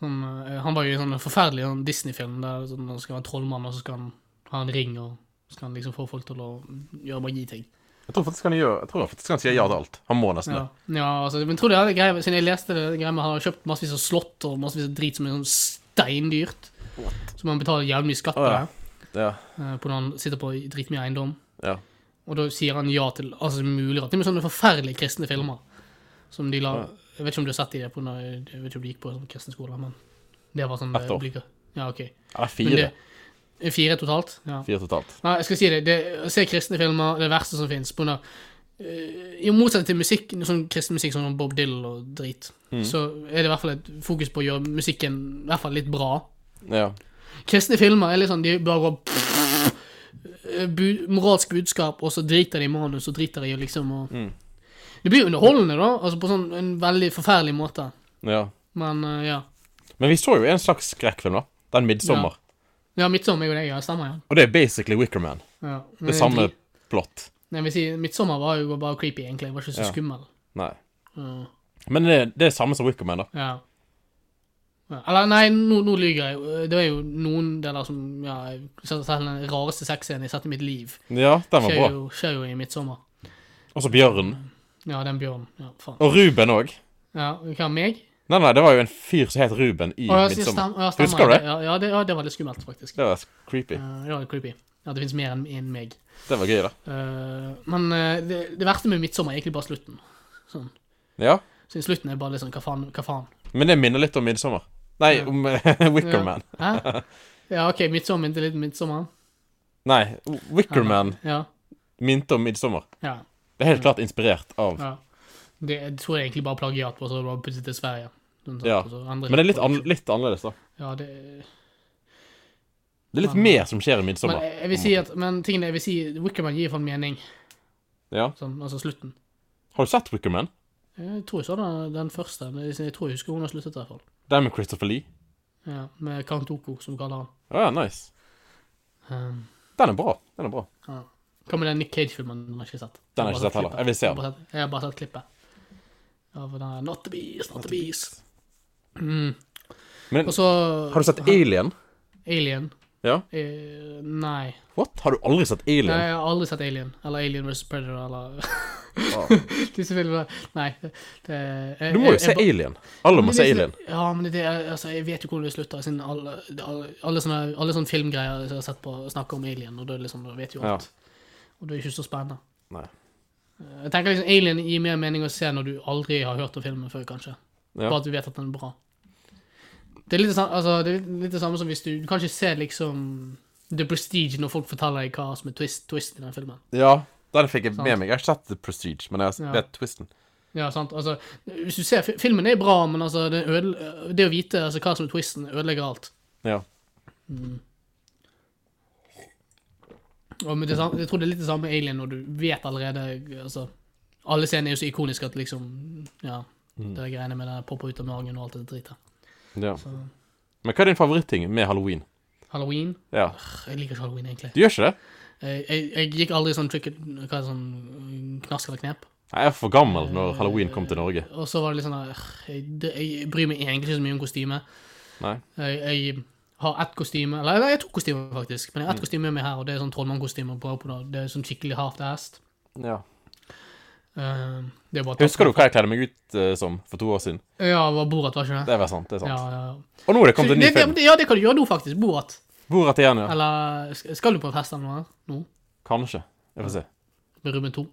[SPEAKER 1] Han, eh, han var jo i en sånn forferdelig sånn Disney-film der sånn, han skal være trollmann, og så skal han ha en ring, og så skal han liksom få folk til å gjøre magi-ting.
[SPEAKER 2] Jeg tror faktisk han gjør Jeg tror faktisk han sier ja til alt. Han må nesten det.
[SPEAKER 1] Ja, ja altså, men tror du det er greier, siden jeg leste det, det greier med at han har kjøpt massevis av slott og massevis av drit som er sånn steindyrt, som han betaler jævlig mye skatt på,
[SPEAKER 2] Å,
[SPEAKER 1] oh,
[SPEAKER 2] Ja.
[SPEAKER 1] på når han sitter på dritmye eiendom,
[SPEAKER 2] ja.
[SPEAKER 1] og da sier han ja til altså mulig rett, til og med sånne forferdelige kristne filmer. Som de la
[SPEAKER 2] Ja.
[SPEAKER 1] Jeg vet ikke om du har sett de der på når, Jeg vet ikke om de gikk på sånn kristen skole, men det var sånn
[SPEAKER 2] Ett
[SPEAKER 1] eh,
[SPEAKER 2] år.
[SPEAKER 1] obliga- Ja, OK.
[SPEAKER 2] Ja,
[SPEAKER 1] Men
[SPEAKER 2] fire.
[SPEAKER 1] det- Fire totalt? Ja.
[SPEAKER 2] Fire totalt.
[SPEAKER 1] Nei, jeg skal si det. det å se kristne filmer er det verste som fins. På grunn av, eh, I motsetning til musikk, sånn kristen musikk som Bob Dylan og drit,
[SPEAKER 2] Mm.
[SPEAKER 1] så er det i hvert fall et fokus på å gjøre musikken i hvert fall litt bra.
[SPEAKER 2] Ja.
[SPEAKER 1] Kristne filmer er litt sånn De bare går eh, bu, Moralsk budskap, og så driter de i manus, og driter de i liksom og,
[SPEAKER 2] Mm.
[SPEAKER 1] Det blir jo underholdende, da, altså på sånn en veldig forferdelig måte.
[SPEAKER 2] ja.
[SPEAKER 1] Men eh, ja.
[SPEAKER 2] Men vi så jo en slags skrekkfilm, da. Den 'Midtsommer'.
[SPEAKER 1] Ja, Midtsommer er jo det, ja. Stemmer, ja.
[SPEAKER 2] Og det er basically Wickerman.
[SPEAKER 1] ja. Men
[SPEAKER 2] Det samme plott.
[SPEAKER 1] Nei, jeg vil si, Midtsommer var jo bare creepy, egentlig. Den var ikke så
[SPEAKER 2] Ja.
[SPEAKER 1] skummel.
[SPEAKER 2] Nei.
[SPEAKER 1] Ja.
[SPEAKER 2] Men det, det er samme som Wickerman, da.
[SPEAKER 1] Ja. Ja, Eller nei, nå, nå lyver jeg. Det var jo noen deler som ja, Selv selv den rareste sexscenen jeg har sett i mitt liv,
[SPEAKER 2] Ja, den var
[SPEAKER 1] skjer
[SPEAKER 2] bra.
[SPEAKER 1] jo, skjer jo i midtsommer.
[SPEAKER 2] Og så Bjørn.
[SPEAKER 1] Ja, den bjørnen. Ja, faen.
[SPEAKER 2] Og Ruben òg.
[SPEAKER 1] Ja, hva meg?
[SPEAKER 2] Nei, nei, det var jo en fyr som het Ruben i
[SPEAKER 1] Å, ja,
[SPEAKER 2] Midtsommer.
[SPEAKER 1] stem, ja, stemmer.
[SPEAKER 2] Husker du det?
[SPEAKER 1] Ja, ja, det? Ja, det var litt skummelt, faktisk.
[SPEAKER 2] Det var creepy.
[SPEAKER 1] Ja, det var litt creepy. Ja, det fins mer enn enn meg.
[SPEAKER 2] Det var gøy, da.
[SPEAKER 1] Eh, men eh, det, det verste med midtsommer er egentlig bare slutten. Sånn.
[SPEAKER 2] Ja.
[SPEAKER 1] Så i slutten er bare litt sånn hva faen? Hva faen?
[SPEAKER 2] Men det minner litt om 'Midtsommer'. Nei,
[SPEAKER 1] Ja.
[SPEAKER 2] om Wickerman.
[SPEAKER 1] Ja. Hæ? Ja, OK, midtsommer er litt midtsommer.
[SPEAKER 2] Nei, Wickerman
[SPEAKER 1] Ja.
[SPEAKER 2] minte om 'Midtsommer'.
[SPEAKER 1] ja.
[SPEAKER 2] Det er helt klart inspirert av
[SPEAKER 1] Ja. Det jeg tror jeg egentlig bare plagiat på, så det var plutselig til Sverige. Sånn,
[SPEAKER 2] Ja.
[SPEAKER 1] og så andre
[SPEAKER 2] Men det er litt,
[SPEAKER 1] på-
[SPEAKER 2] an litt annerledes, da.
[SPEAKER 1] Ja, det
[SPEAKER 2] Det er litt
[SPEAKER 1] Men-
[SPEAKER 2] mer som skjer i
[SPEAKER 1] Men
[SPEAKER 2] midtsommer.
[SPEAKER 1] jeg, jeg vil si at Men tingene jeg vil si Wickerman gir iallfall mening.
[SPEAKER 2] Ja.
[SPEAKER 1] Sånn, altså slutten.
[SPEAKER 2] Har du sett Wickerman?
[SPEAKER 1] Jeg tror jeg så den, den første. Men jeg, jeg tror jeg husker hun har sluttet, i hvert fall.
[SPEAKER 2] Den med Christopher Lee?
[SPEAKER 1] Ja, med Kantoko, som hun kaller han.
[SPEAKER 2] Å ja, nice. Ehm.
[SPEAKER 1] Um,
[SPEAKER 2] Den er bra. Den er bra.
[SPEAKER 1] ja. Hva med den Nick Cage-filmen? Den har jeg ikke sett.
[SPEAKER 2] Den har jeg ikke sett heller. Jeg vil se
[SPEAKER 1] den. Jeg har bare sett klippet. Av den der, Not the Beast, Not the Beast. Mm.
[SPEAKER 2] Men
[SPEAKER 1] Og så
[SPEAKER 2] har du sett Alien?
[SPEAKER 1] Alien?
[SPEAKER 2] Ja.
[SPEAKER 1] Eh, nei.
[SPEAKER 2] What? Har du aldri sett Alien?
[SPEAKER 1] Nei, jeg har aldri sett Alien, eller Alien vs. Predator, eller
[SPEAKER 2] Wow.
[SPEAKER 1] disse filmene. Nei. Det, jeg,
[SPEAKER 2] Du må jo se Alien. Alle må se Alien.
[SPEAKER 1] Ja, men det, er det, jeg- altså, jeg vet jo hvordan det slutter, siden alle, alle, alle, sånne, alle sånne filmgreier jeg har sett på, snakker om Alien, og da er det liksom, da vet jo
[SPEAKER 2] Ja.
[SPEAKER 1] alt. Og det er ikke så spennende.
[SPEAKER 2] Nei.
[SPEAKER 1] Jeg tenker liksom Alien gir mer mening å se når du aldri har hørt om filmen før, kanskje.
[SPEAKER 2] Ja.
[SPEAKER 1] Bare at du vet at den er bra. Det er litt det samme, altså, det, er litt det samme som hvis du Du kan ikke se liksom The Prestige når folk forteller deg hva som er twist, twist i den filmen.
[SPEAKER 2] ja. Den fikk jeg
[SPEAKER 1] Sant.
[SPEAKER 2] med meg. Jeg har ikke sett The Prestige, men jeg
[SPEAKER 1] Ja.
[SPEAKER 2] har vet twisten.
[SPEAKER 1] Ja, sant. Altså, hvis du ser, fi- filmen er bra, men altså, det, ødele, det å vite altså, hva som er twisten, ødelegger alt.
[SPEAKER 2] Ja.
[SPEAKER 1] Og med det, sam- jeg tror det er litt det samme med Alien, når du vet allerede altså, Alle scener er jo så ikoniske at liksom Ja. Det er greiene med det popper ut av magen og alt det dritet.
[SPEAKER 2] ja.
[SPEAKER 1] Så-
[SPEAKER 2] Men hva er din favoritting med halloween?
[SPEAKER 1] Halloween?
[SPEAKER 2] Ja.
[SPEAKER 1] Pff, Jeg liker ikke halloween, egentlig.
[SPEAKER 2] Du gjør ikke det?
[SPEAKER 1] Jeg, jeg, jeg gikk aldri sånn trick Hva er det, sånn knask eller knep.
[SPEAKER 2] Nei, Jeg er for gammel
[SPEAKER 1] Eh,
[SPEAKER 2] når halloween kom til Norge.
[SPEAKER 1] Og så var det litt sånn der, jeg, det- jeg bryr meg egentlig ikke så mye om kostyme.
[SPEAKER 2] Nei.
[SPEAKER 1] Jeg, jeg har ett kostyme, eller nei, jeg har to kostymer faktisk, men jeg har
[SPEAKER 2] Mm.
[SPEAKER 1] ett kostyme med meg her, og det er sånn trollmannkostyme på på da. Det er sånn skikkelig halvt hest.
[SPEAKER 2] Ja.
[SPEAKER 1] Eh, det er bare
[SPEAKER 2] Husker du hva jeg kledde meg ut eh, som for to år siden?
[SPEAKER 1] Ja, det var Borat, var ikke det?
[SPEAKER 2] Det er vel sant. det er
[SPEAKER 1] Ja,
[SPEAKER 2] sant.
[SPEAKER 1] ja, ja.
[SPEAKER 2] Og nå er det kommet
[SPEAKER 1] Det,
[SPEAKER 2] en ny film.
[SPEAKER 1] det, ja, det kan du gjøre nå, faktisk. Borat.
[SPEAKER 2] Borat igjen, ja.
[SPEAKER 1] Eller sk- skal du på en fest eller noe nå?
[SPEAKER 2] Kanskje. Jeg får se.
[SPEAKER 1] Med Ruben 2?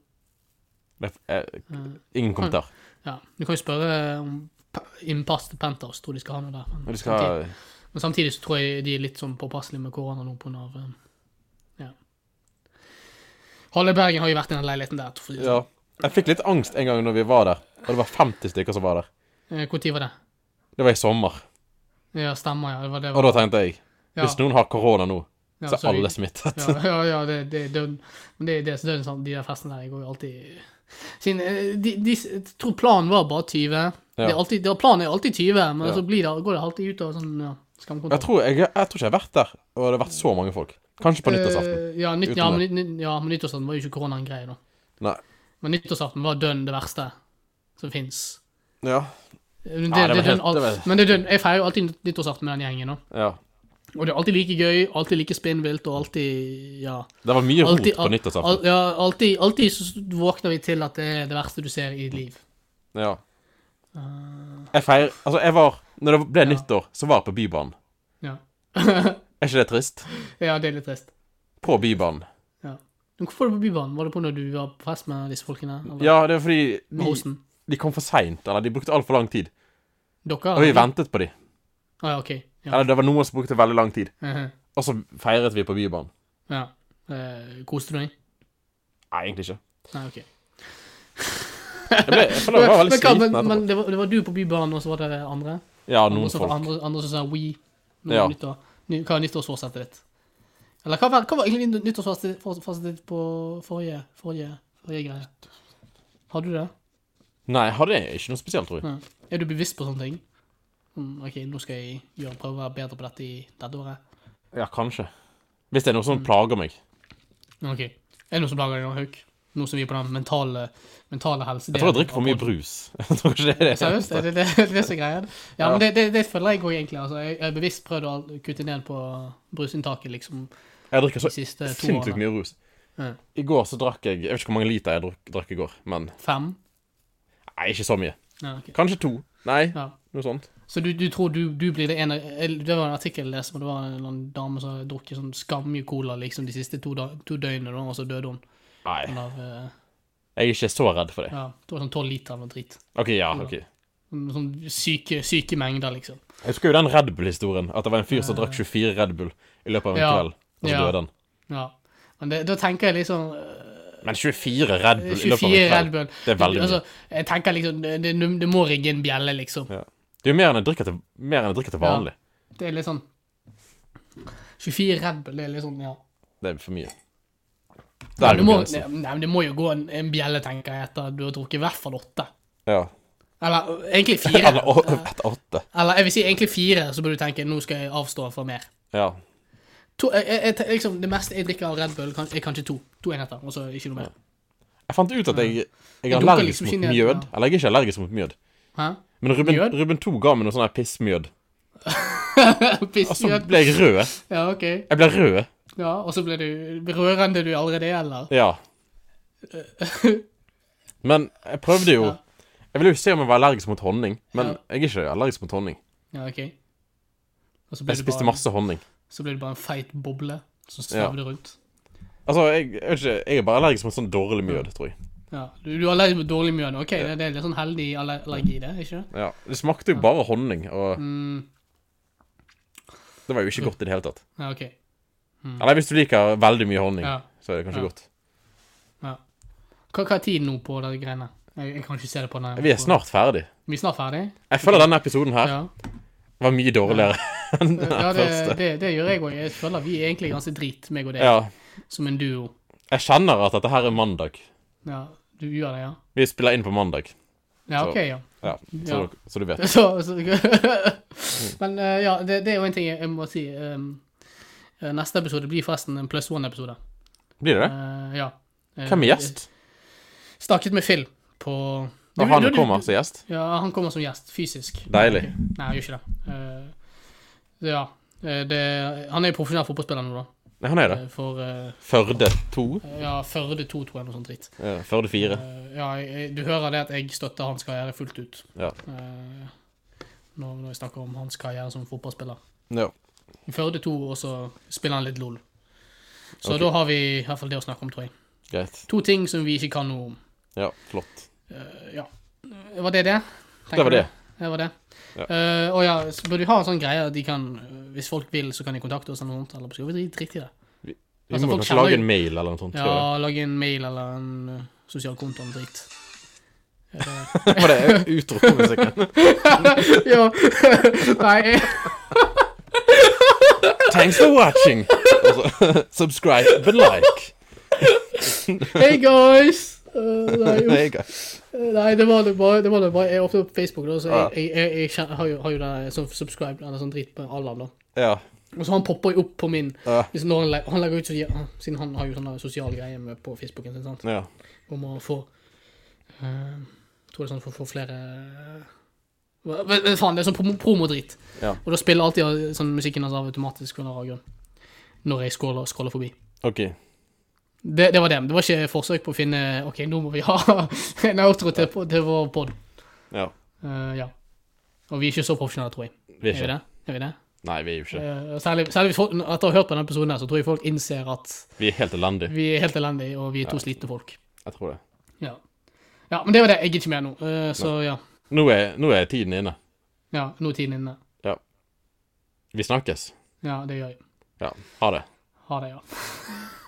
[SPEAKER 2] Det er, eh, ingen kommentar.
[SPEAKER 1] Ja. Du kan jo spørre om p- innpass til Penthouse, tror de skal ha noe der.
[SPEAKER 2] Men
[SPEAKER 1] Men,
[SPEAKER 2] du skal
[SPEAKER 1] samtidig, men samtidig så tror jeg de er litt sånn påpasselige med korona nå på Nav. Ja. Halve Bergen har jo vært i den leiligheten der. for å si det
[SPEAKER 2] Ja. Jeg fikk litt angst en gang når vi var der, og det var 50 stykker som var der.
[SPEAKER 1] sånn. Eh, Hvor tid var det?
[SPEAKER 2] Det var i sommer.
[SPEAKER 1] Ja, stemmer, ja. Det var det.
[SPEAKER 2] Og da tenkte jeg
[SPEAKER 1] ja.
[SPEAKER 2] hvis noen har korona nå,
[SPEAKER 1] Ja,
[SPEAKER 2] så er
[SPEAKER 1] så vi-
[SPEAKER 2] alle smittet.
[SPEAKER 1] Ja, ja, ja det, det, det, men det, det, det, er sånn, de der festene der, jeg går jo alltid Siden, eh, de, de, jeg tror planen var bare 20. Det er alltid, det er planen er alltid 20, men
[SPEAKER 2] Ja.
[SPEAKER 1] så blir det, går det alltid ut av sånn ja,
[SPEAKER 2] Jeg
[SPEAKER 1] skamkontroll.
[SPEAKER 2] tror, jeg, jeg tror ikke jeg har vært der, og det har vært så mange folk. Kanskje på nyttårsaften.
[SPEAKER 1] Eh, ja, nytt, ja,
[SPEAKER 2] Utenom
[SPEAKER 1] men, nytt- nytt- ja, men nyttårsaften var jo ikke korona en greie, da.
[SPEAKER 2] Nei.
[SPEAKER 1] Men nyttårsaften var dønn det verste som fins.
[SPEAKER 2] Ja.
[SPEAKER 1] Men
[SPEAKER 2] Ja, det var helt- det var-
[SPEAKER 1] feirer jo alltid nyttårsaften med den gjengen, da.
[SPEAKER 2] ja.
[SPEAKER 1] Og det er alltid like gøy, alltid like spinnvilt, og alltid ja.
[SPEAKER 2] Det var mye rot
[SPEAKER 1] Alltid-
[SPEAKER 2] på nyttårsaften.
[SPEAKER 1] Al ja, alltid, alltid så våkner vi til at det er det verste du ser i ditt liv.
[SPEAKER 2] Ja. Jeg feir... Altså, jeg var Når det ble
[SPEAKER 1] Ah. Ja.
[SPEAKER 2] nyttår, så var jeg på Bybanen.
[SPEAKER 1] Ja.
[SPEAKER 2] Er ikke det trist?
[SPEAKER 1] ja, det er litt trist.
[SPEAKER 2] På Bybanen.
[SPEAKER 1] Ja. Men hvorfor var du på Bybanen? Var det på når du var på fest med disse folkene? eller
[SPEAKER 2] Ja, det er fordi
[SPEAKER 1] Med
[SPEAKER 2] vi,
[SPEAKER 1] hosten?
[SPEAKER 2] de kom for seint, eller de brukte altfor lang tid.
[SPEAKER 1] Dere
[SPEAKER 2] Og vi ventet på de.
[SPEAKER 1] Ah, ja, OK. Ja.
[SPEAKER 2] Eller det var noen som brukte veldig lang tid.
[SPEAKER 1] Mhm.
[SPEAKER 2] Og så feiret vi på Bybanen.
[SPEAKER 1] ja. Eh, koste du deg?
[SPEAKER 2] Nei, egentlig ikke.
[SPEAKER 1] Nei, OK.
[SPEAKER 2] Jeg, ble, jeg føler jeg var veldig
[SPEAKER 1] Men hva, men-
[SPEAKER 2] sliten
[SPEAKER 1] Men
[SPEAKER 2] etterpå.
[SPEAKER 1] det var, det var du på Bybanen, og så var det andre?
[SPEAKER 2] Ja,
[SPEAKER 1] Andre
[SPEAKER 2] noen
[SPEAKER 1] som,
[SPEAKER 2] folk.
[SPEAKER 1] andre, andre som sa we. Noe
[SPEAKER 2] Ja.
[SPEAKER 1] nyttår, ny, hva er nyttårsforsettet ditt? Eller hva, var- hva var egentlig nytt- nyttårsforsettet for- forsettet ditt på forrige, forrige, forrige greie? Har du det?
[SPEAKER 2] Nei, jeg hadde ikke noe spesielt, tror jeg.
[SPEAKER 1] Ja. Er du bevisst på sånne ting? Sånn, OK, nå skal jeg gjøre, prøve å være bedre på dette i dette året.
[SPEAKER 2] Ja, kanskje. Hvis det er noe som plager meg.
[SPEAKER 1] OK. Er det noen som plager deg nå, Hauk? Nå som vi er på den mentale, mentale helse...
[SPEAKER 2] Jeg tror jeg drikker for mye brus. Jeg tror ikke det er det.
[SPEAKER 1] Seriøst, er det det, det, er det som er greia? Ja,
[SPEAKER 2] Ja.
[SPEAKER 1] men det, det, det føler jeg òg, egentlig. Altså, jeg jeg har bevisst prøvd å kutte ned på brusinntaket liksom,
[SPEAKER 2] Jeg drikker
[SPEAKER 1] de
[SPEAKER 2] så
[SPEAKER 1] siste to
[SPEAKER 2] sinnssykt
[SPEAKER 1] årene.
[SPEAKER 2] mye brus.
[SPEAKER 1] Ja.
[SPEAKER 2] I går så drakk jeg Jeg vet ikke hvor mange liter jeg drakk, drakk i går, men
[SPEAKER 1] Fem?
[SPEAKER 2] Nei, ikke så mye.
[SPEAKER 1] Ja, ok.
[SPEAKER 2] Kanskje to. Nei,
[SPEAKER 1] ja.
[SPEAKER 2] noe sånt.
[SPEAKER 1] Så du, du tror du, du blir det ene eller, Det var en artikkel jeg leste, og det var en eller annen dame som hadde drukket sånn skammye cola liksom, de siste to, da, to døgnene, da, og så døde hun.
[SPEAKER 2] Nei,
[SPEAKER 1] Hun Av, eh,
[SPEAKER 2] jeg er ikke så redd for det.
[SPEAKER 1] ja, det var sånn tolv liter eller noe drit.
[SPEAKER 2] OK, ja, OK.
[SPEAKER 1] Sånn sånn syke, syke mengder, liksom.
[SPEAKER 2] Jeg husker jo den Red Bull-historien. At det var en fyr som drakk 24 Red Bull i løpet av en
[SPEAKER 1] Ja.
[SPEAKER 2] kveld, og så
[SPEAKER 1] Ja.
[SPEAKER 2] døde han.
[SPEAKER 1] Ja. Men det, da tenker jeg liksom eh,
[SPEAKER 2] Men 24 Red Bull i løpet av
[SPEAKER 1] 24
[SPEAKER 2] en
[SPEAKER 1] Red
[SPEAKER 2] kveld,
[SPEAKER 1] Bull.
[SPEAKER 2] det er veldig mye.
[SPEAKER 1] Altså, jeg tenker liksom, det, det, det må rigge en bjelle, liksom.
[SPEAKER 2] Ja. Det er jo mer enn jeg drikker til, mer enn jeg drikker til
[SPEAKER 1] Ja.
[SPEAKER 2] vanlig.
[SPEAKER 1] Det er litt sånn 24 Red Bull, det er litt sånn, ja.
[SPEAKER 2] Det er for mye.
[SPEAKER 1] Nei,
[SPEAKER 2] Der er altså.
[SPEAKER 1] det
[SPEAKER 2] jo
[SPEAKER 1] må,
[SPEAKER 2] grensen.
[SPEAKER 1] nei, nei, men det må jo gå en, en bjelle, tenker jeg, etter at du har drukket i hvert fall åtte.
[SPEAKER 2] Ja.
[SPEAKER 1] Eller ø, egentlig fire.
[SPEAKER 2] Eller å- etter åtte.
[SPEAKER 1] Eller jeg vil si egentlig fire, så bør du tenke nå skal jeg avstå for mer.
[SPEAKER 2] Ja.
[SPEAKER 1] To, jeg, jeg, jeg, liksom, det meste jeg drikker av Red Bull, kan, er kanskje to. To enheter, og så ikke noe mer.
[SPEAKER 2] Jeg fant ut at jeg, jeg
[SPEAKER 1] Jeg
[SPEAKER 2] er
[SPEAKER 1] dunker
[SPEAKER 2] allergisk
[SPEAKER 1] liksom ikke
[SPEAKER 2] mot
[SPEAKER 1] ned,
[SPEAKER 2] mjød.
[SPEAKER 1] ja.
[SPEAKER 2] Eller jeg er ikke allergisk mot mjød.
[SPEAKER 1] Hæ?
[SPEAKER 2] Men Ruben,
[SPEAKER 1] Mjød?
[SPEAKER 2] Ruben 2 ga meg noe sånn her pissmjød. Og så
[SPEAKER 1] Pissmjød.
[SPEAKER 2] ble jeg rød.
[SPEAKER 1] Ja, OK.
[SPEAKER 2] Jeg ble rød.
[SPEAKER 1] Ja, og så ble du rørende du allerede er, eller?
[SPEAKER 2] Ja. Men jeg prøvde jo
[SPEAKER 1] Ja.
[SPEAKER 2] Jeg ville jo se om jeg var allergisk mot honning, men
[SPEAKER 1] Ja.
[SPEAKER 2] jeg er ikke allergisk mot honning.
[SPEAKER 1] Ja, OK. Og så ble,
[SPEAKER 2] Jeg
[SPEAKER 1] du
[SPEAKER 2] spiste
[SPEAKER 1] bare,
[SPEAKER 2] masse honning.
[SPEAKER 1] så ble du bare en feit boble som svevde rundt.
[SPEAKER 2] Altså, jeg, jeg, vet ikke, jeg er bare allergisk mot sånn dårlig mjød, tror jeg.
[SPEAKER 1] Ja, Du, du er allergisk mot dårlig mjød. OK, det, det er litt sånn heldig aller- allergi, det, ikke det?
[SPEAKER 2] Ja. Det smakte jo bare honning, og
[SPEAKER 1] Mm,
[SPEAKER 2] det var jo ikke godt i det hele tatt.
[SPEAKER 1] ja, OK.
[SPEAKER 2] Eller hvis du liker veldig mye honning,
[SPEAKER 1] Ja.
[SPEAKER 2] så er det kanskje
[SPEAKER 1] Ja.
[SPEAKER 2] godt.
[SPEAKER 1] Hva, hva er tiden nå på de greiene? Jeg, jeg kan ikke se det på den.
[SPEAKER 2] Vi er snart ferdig.
[SPEAKER 1] Vi er snart ferdig?
[SPEAKER 2] Jeg føler denne episoden her
[SPEAKER 1] Ja.
[SPEAKER 2] var mye dårligere enn den
[SPEAKER 1] ja det,
[SPEAKER 2] første.
[SPEAKER 1] det, det gjør jeg òg. Jeg føler vi er egentlig ganske drit, meg og deg,
[SPEAKER 2] Ja.
[SPEAKER 1] som en duo.
[SPEAKER 2] Jeg kjenner at dette her er mandag.
[SPEAKER 1] Ja, Du gjør det, ja?
[SPEAKER 2] Vi spiller inn på mandag.
[SPEAKER 1] Ja,
[SPEAKER 2] Så-
[SPEAKER 1] OK, ja.
[SPEAKER 2] Ja, så,
[SPEAKER 1] Ja.
[SPEAKER 2] så du vet.
[SPEAKER 1] Så, så
[SPEAKER 2] Mm.
[SPEAKER 1] Men eh, ja, det, det er jo en ting jeg, jeg må si. em, eh, neste episode blir forresten en pluss one-episode.
[SPEAKER 2] Blir det det?
[SPEAKER 1] Eh, ja. Eh,
[SPEAKER 2] Hvem er gjest?
[SPEAKER 1] Snakket med Phil på
[SPEAKER 2] Når han kommer som gjest?
[SPEAKER 1] Ja, han kommer som gjest, fysisk.
[SPEAKER 2] Deilig.
[SPEAKER 1] Nei, han gjør ikke det. Eh, så ja. eh, Det, han er jo profesjonell fotballspiller nå, da.
[SPEAKER 2] Nei, han er det.
[SPEAKER 1] Eh, For eh,
[SPEAKER 2] Førde 2?
[SPEAKER 1] ja, Førde 2, tror jeg, noe sånt dritt.
[SPEAKER 2] Ja, Førde 4.
[SPEAKER 1] Eh, ja, jeg, jeg- du hører det at jeg støtter hans karriere fullt ut.
[SPEAKER 2] Ja.
[SPEAKER 1] Eh, når, når jeg snakker om hans karriere som fotballspiller.
[SPEAKER 2] ja.
[SPEAKER 1] I Førde 2, og så spiller han litt LOL. Så
[SPEAKER 2] Ok.
[SPEAKER 1] da har vi i hvert fall det å snakke om, tror jeg.
[SPEAKER 2] Greit.
[SPEAKER 1] To ting som vi ikke kan noe om.
[SPEAKER 2] Ja, flott.
[SPEAKER 1] Eh, ja. Var det det? Tenker
[SPEAKER 2] Det var
[SPEAKER 1] du?
[SPEAKER 2] det.
[SPEAKER 1] Det var det.
[SPEAKER 2] Ja.
[SPEAKER 1] Eh, og ja, så bør du ha en sånn greie at de kan eh, Hvis folk vil, så kan de kontakte oss eller noe sånt. Eller skal vi drite drite i det?
[SPEAKER 2] Vi
[SPEAKER 1] Altså,
[SPEAKER 2] må
[SPEAKER 1] folk
[SPEAKER 2] kanskje
[SPEAKER 1] kjenner
[SPEAKER 2] lage
[SPEAKER 1] jo-
[SPEAKER 2] en mail eller noe sånt.
[SPEAKER 1] Ja,
[SPEAKER 2] tror
[SPEAKER 1] lage en mail eller en eh, sosial konto eller dritt. Eh,
[SPEAKER 2] jeg. Var det utropsmusikken?
[SPEAKER 1] ja. Nei, jeg,
[SPEAKER 2] Thanks for watching! Altså, subscribe, but like.
[SPEAKER 1] hey guys! Eh, nei, uff.
[SPEAKER 2] Hey, guys.
[SPEAKER 1] Eh, nei, det var det bare. Det var det bare. Jeg er ofte på Facebook, da, så
[SPEAKER 2] Ja.
[SPEAKER 1] jeg, jeg, jeg, jeg kjen- har jo, har jo den sånn subscribe eller sånn dritt på Allan, da.
[SPEAKER 2] Ja.
[SPEAKER 1] Og så han popper jo opp på min
[SPEAKER 2] Ja.
[SPEAKER 1] hvis når han, le- han legger ut så, Siden han har jo sånne sosiale greier med på Facebooken sin, sant.
[SPEAKER 2] ja.
[SPEAKER 1] om å få eh, Tror det er sånn for å få flere Hva- hva- hva Faen, det er sånn promo- promodrit.
[SPEAKER 2] Ja.
[SPEAKER 1] Og da spiller alltid eh, sånn musikken hans av automatisk under grunn. Når jeg scroller, scroller forbi.
[SPEAKER 2] OK.
[SPEAKER 1] Det, det var det. Det var ikke forsøk på å finne OK, nå må vi ha en outro til, på- til vår pod.
[SPEAKER 2] Ja.
[SPEAKER 1] Eh, ja. Og vi er ikke så profesjonelle, tror jeg.
[SPEAKER 2] Vi
[SPEAKER 1] Er
[SPEAKER 2] er
[SPEAKER 1] vi
[SPEAKER 2] ikke
[SPEAKER 1] det? Er vi det?
[SPEAKER 2] Nei, vi er jo ikke det.
[SPEAKER 1] Eh, særlig, særlig hvis folk, etter å ha hørt på denne episoden, her, så tror jeg folk innser at
[SPEAKER 2] Vi er helt elendige.
[SPEAKER 1] vi er helt elendige, og vi er to slitne folk.
[SPEAKER 2] Jeg tror det.
[SPEAKER 1] Ja. Ja, men det var det. Jeg er ikke med nå. eh, så ja.
[SPEAKER 2] Nå er, nå er tiden inne.
[SPEAKER 1] Ja, nå er tiden inne.
[SPEAKER 2] Vi snakkes.
[SPEAKER 1] Ja, det gjør jeg.
[SPEAKER 2] Ja, ha det.
[SPEAKER 1] Ha det, ja.